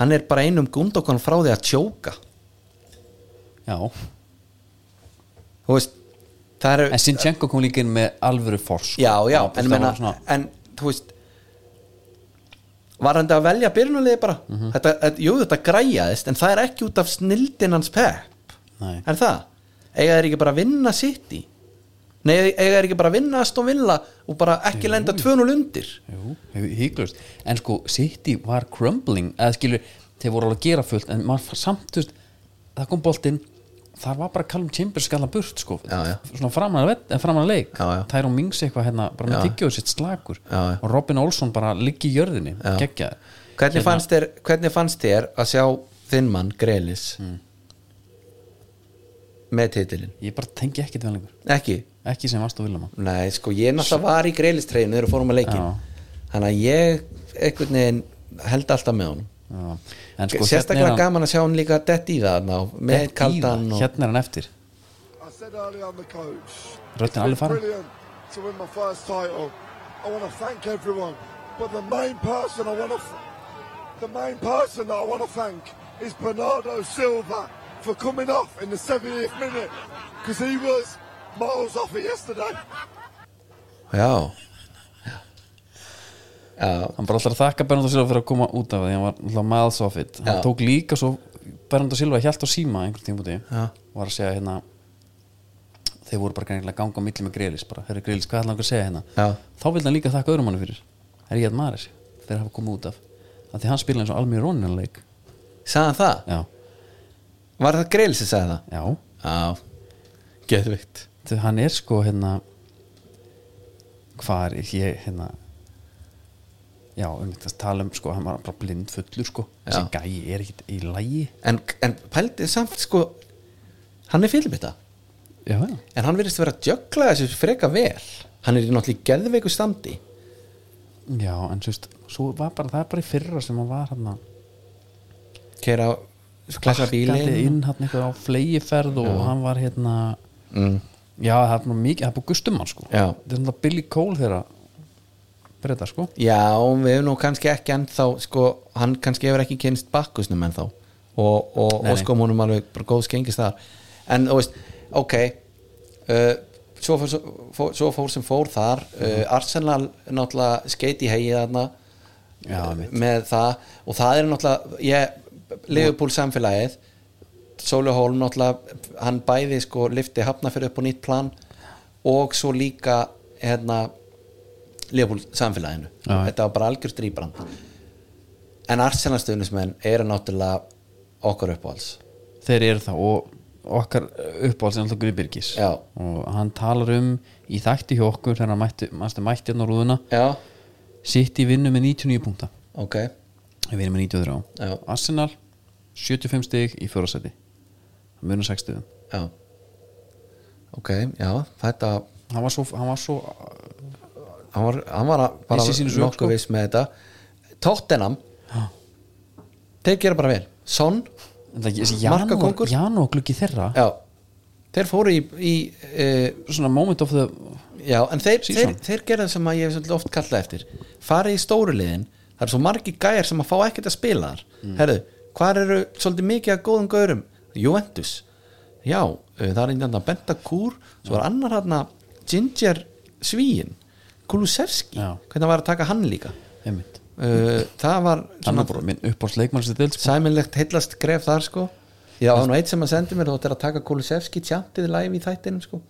hann er bara einum gundokan frá því að tjóka já, þú veist það eru en Sinchenko kom líka inn með alvöru force sko. já, já, Það var- en, það menna, var svona- en þú veist var hann að velja byrjunulegi bara Mhm. þetta, þetta, jú, þetta græjaðist en það er ekki út af snildin hans Pep Nei. er það, eiga þeir ekki bara að vinna sitt í nei, eiga þeir ekki bara að vinna að stóðvilla og bara ekki lenda 2-0 undir Jú, híklust En sko, City var crumbling eða skilur, þeir voru alveg að gera fullt en maður fann samt, þú veist, það kom boltinn þar var bara Callum Chambers skalla burt sko, Já, já. svona framan að vett- eh, framan að leik Já, já. Tyrone Mings eitthvað hérna, bara með Já. tyggjóðu sitt slagur Já, já. og Robin Olsson bara liggi í jörðinni Hérna, Já. geggjaði hvernig, fannst þér, hvernig fannst þér að sjá þinn mann Grelis Mm. með titilin Ég bara tengi ekkit vel lengur ekki, ekki sem varst og vilja mann nei sko ég náttúrulega var í Grelis treyjun þegar við fórum að leikin Já. þannig að ég einhvern veginn held alltaf með honum Já. En sko, sérstaklega hérna er hann, gaman að sjá hann líka dett í það ná, með Þetta í kaldan það, og, hérna er hann eftir I said earlier I'm the coach. Röddin It's been alveg farin. brilliant to win my first title. I want to thank everyone, but the main person I want to, the main person that I want to thank is Bernardo Silva for coming off in the 70th minute because he was miles off it yesterday. já já, hann bara alltaf að þakka Bernardo Silva fyrir að koma út af því hann var alltaf miles off it hann Já. tók líka svo Bernardo Silva hjælt á síma einhvern tíma úti Já. var að segja hérna þeir voru bara greinilega að ganga á milli með Grelis bara, herri Grelis, hvað ætlaði hann að segja hérna Já. þá vildi hann líka þakka öðrum hannu fyrir herri Jad Maris, þeir hafa komið út af að því hann spila eins og almið rónin leik sagði hann það? já, var það Grelis sem sagði já, það? já, geðvikt Þau, hann er sko hérna hvað er ég hérna já, um þetta tala um sko hann var bara blind fullur sko Já. þessi gæi er ekkit í lægi en, en pældi samt sko hann er fylgbytta já, já en hann virðist vera að jökla þessu freka vel hann er í náttúrulega í geðveiku standi Já, en þú veist, svo var bara, það er bara í fyrra sem hann var hérna, hann keira klessa Bakkandi inn bílin hann eitthvað á flegiferð og hann var hérna mm. Já, það er bara mikið, það er búið gustum hann sko Já. Það er náttúrulega Billy Cole þeirra breyta sko já, við hefum nú kannski ekki ennþá sko, hann kannski hefur ekki kynst bakkusnum ennþá og, og, Nei, og nei. sko múnum alveg bara góð skengist þar en þú veist, ok uh, svo, fór, Mhm. svo, fór, svo fór sem fór þar uh, Arsenal náttúrulega skeit í heið þarna Já, einmitt. með það og það er náttúrulega ég, Liverpool samfélagið Sólihól náttúrulega hann bæði sko lifti hafna fyrir upp á nýtt plan og svo líka hérna Liverpool samfélaginu Já. þetta var bara algjör strýbrand en Arsenal stuðnismenn eru náttúrulega okkar uppáhalds þeir eru það og okkar eh, uppáhalds er alltaf Guðbyrgis Já. og hann talar um í þætti hjá okkur þegar hann mætti, mætti, mætti hérna á rúðuna já, sitt í vinnu með 99 punkta ok við erum með 93 Já. Arsenal 75 stig í fjórasæti munum 6 stigum já ok, já, þetta hann var svo, hann var svo hann var, hann var að- bara Vissi sínu sök, sko. nokkuð viss með þetta Tottenham Já. þeir gera bara vel Son, Markakongur. Janó gluggi þeirra já þeir fóru í, í uh, svona moment of the já, en þeir, þeir, Season. þeir gera það sem að ég hef svolítið oft kallað eftir farið í stóru liðin, það er svo margi gæjar sem að fá ekkert að spila þar Mm. herðu, hvar eru svolítið mikið að góðum gaurum Juventus já, uh, það er einnig að Benta Kúr svo var annar hann Ginger Svíin, Kulusevski Já. hvernig var að taka hann líka einmitt uh, það var hann svona er bara minn uppáhalds leikmannstu deild sko. sæminlegt hillast gref þar sko já, það var nú eitt sem að sendi mér þótt er að taka Kulusevski tjantið live í þættinum sko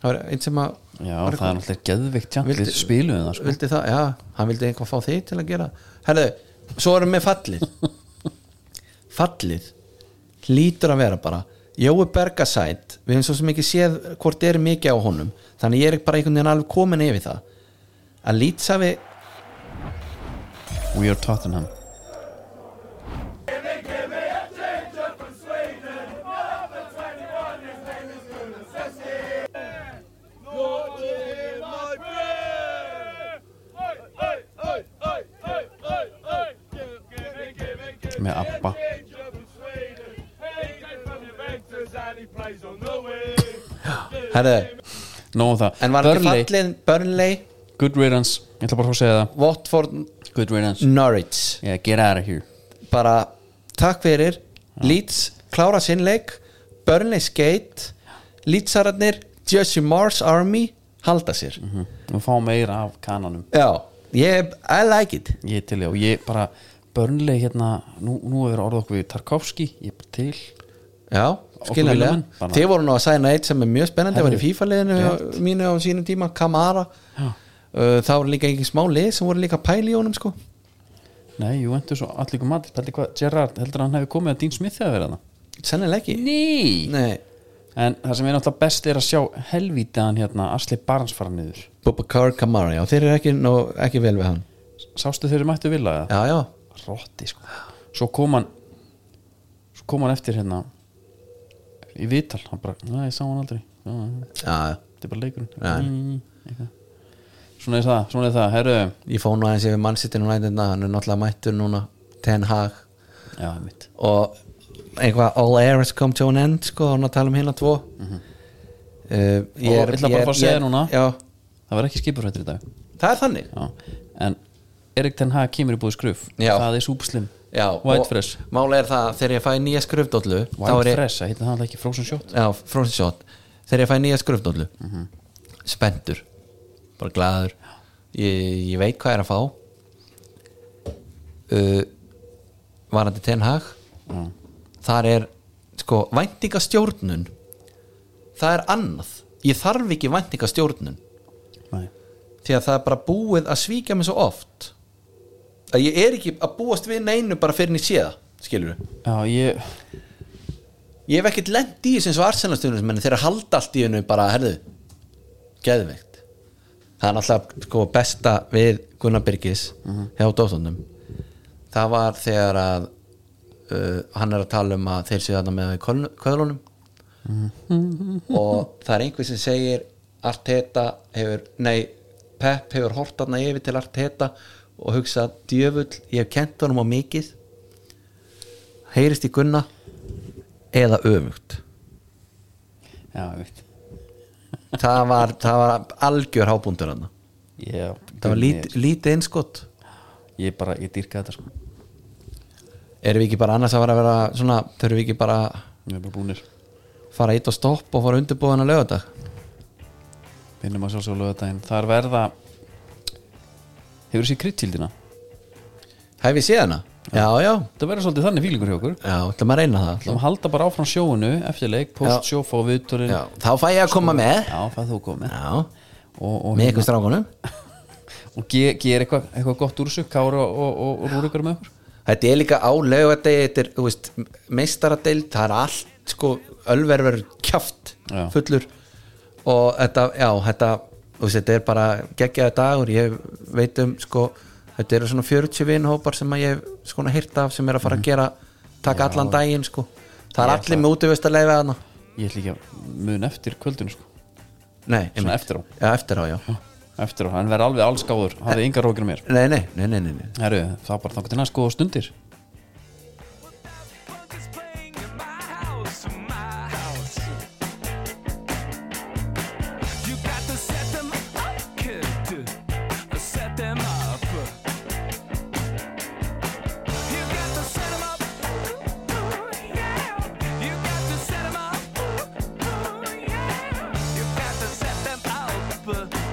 það var einn sem að já var það er eitthvað- alltaf geðveikt tjantið Vildi- spiluðið það sko vildi það, já, hann vildi einhvað fá þig til að gera herðu, svo erum við fallið fallið lítur að vera bara Jói Bergasæt, við hefum svo sem ekki séð hvort er mikið á honum þannig ég er bara einhvern veginn alveg komin yfir það að lýtsafi we are Tottenham með Abba herðu, nóg um það en var ekki Burnley, fallið Burnley, good riddance ég ætla bara að fá að segja það Watford Mm. good riddance Norwich yeah get out of here bara takk fyrir Leeds klára sinnleik Burnley Skate Leedsararnir, Jesse Mars Army halda sér Mhm. við fáum meira af kananum já, ég, I like it ég er til ég og ég bara börnleg hérna nú, nú er orð okkur við Tarkovski ég er bara til já, vilja skiljanlega menn, bara- þið voru nú að sæna eitt sem er mjög spennandi það var í Herðu, FIFA-liðinu rétt. mínu á sínum tíma Kamara Já. Uh, það voru líka engin smá lið sem voru líka pæli í honum sko. nei, jú endur svo allir kom að heldur hvað Gerard heldur að hann hefði komið að Dean Smith hefði verið hann sennilega ekki nei Nei. en það sem er náttúrulega best er að sjá helvítiðan hérna Asli Barnes fara niður Bubakar Kamara, já, þeir eru ekki, ná, ekki vel við hann sástu þeirri mættu vilja það? já, já, rotti sko svo kom hann svo kom hann eftir hérna í vital hann bara, næ, ég sá hann aldrei Já, já, já, já. þetta er bara leikurinn Já. Mm, eitthvað. svona er það, svona er það, herru ég fóð nú aðeins yfir mannsittinu nættina hann er náttúrulega mættur núna Ten Hag já, mitt og eitthvað all air has come to an end sko, hann að tala um hérna tvo Mhm. uh, ég Og ætla bara að fá að segja ég- núna. já, það var ekki skipurhættur í dag það er þannig já. en Erik Ten Hag kemur í búið skruf Já. það er súpslim, já, White og Fresh mála er það að þegar ég fæ nýja skröfdóllu White Fresh, það heitir það alltaf ekki Frozen Shot já, frozen shot þegar ég fæ nýja skröfdóllu spenntur, bara glaður ég, ég veit hvað er að fá uh, varandi Ten Hag já. þar er sko væntingastjórnun það er annað ég þarf ekki væntingastjórnun Nei. því að það er bara búið að svíkja mig svo oft að ég er ekki að búast við neinu bara fyrir en ég sé það skilur við já, ég ég hef ekkert lent í þessu eins og arsenastunum menn þeir halda allt í hennu bara herðu geðveikt það er náttúrulega sko besta við Gunnar Byrgis hjá Dóttunum það var þegar að uh, hann er að tala um að þeir séu þarna með köðlunum og það er einhver sem segir Arteta hefur, nei Pep hefur hort þarna yfir til Arteta og hugsað, djöfull, ég hef kent honum á mikið heyrist í Gunna eða öfugt já, ég veit það var, það var algjör hábúndur hann ég, það var lít, lítið einskott ég bara, ég dýrka þetta sko erum við ekki bara annars að vera að vera svona, þurfum við ekki bara að við erum bara búnir fara eitt og stopp og fara undirbúðan að löga vinnum að sjálfsöglu þetta en það er verða hefur sér kryddtildina Hef ég séð hana? Já, já, það verður svolítið þannig fílingur hjá okkur já, ætlum að reyna það Þú ætlum. halda bara áfram sjóinu eftir leik, post sjó, fá viðtúrin já, Þá fæ ég að koma með já fæð þú komið Já, og, og, með ykkur strákunum og ge, gera eitthvað eitthva gott úr sig Kára og, og, og Rúrikar með okkur Þetta er líka á laugardegi Þetta er, þú veist, meistaradeild Það er allt, sko, ölverver kjaft Já. Fullur Og þetta, já, þetta þú veist, Þetta er bara geggjaði dagur Ég veit um, sko Þetta eru svona 40 vinhópar sem að ég hef svona hýrta af sem er að fara að gera taka allan daginn, sko Það er Mhm. Ég allir með útivist að leifa þarna ég ætla ekki að mun eftir kvöldinu sko. Nei, svona einmitt. eftir á Já, eftir á, já eftir á, hann verður alveg allskáður hafði yngar rókir mér Nei, nei, nei, nei, nei, nei. Heru, það bara þangur til næst góða stundir Uh, Set them up. You got to set them up. You got to set them up. Uh, You got to set them up. uh,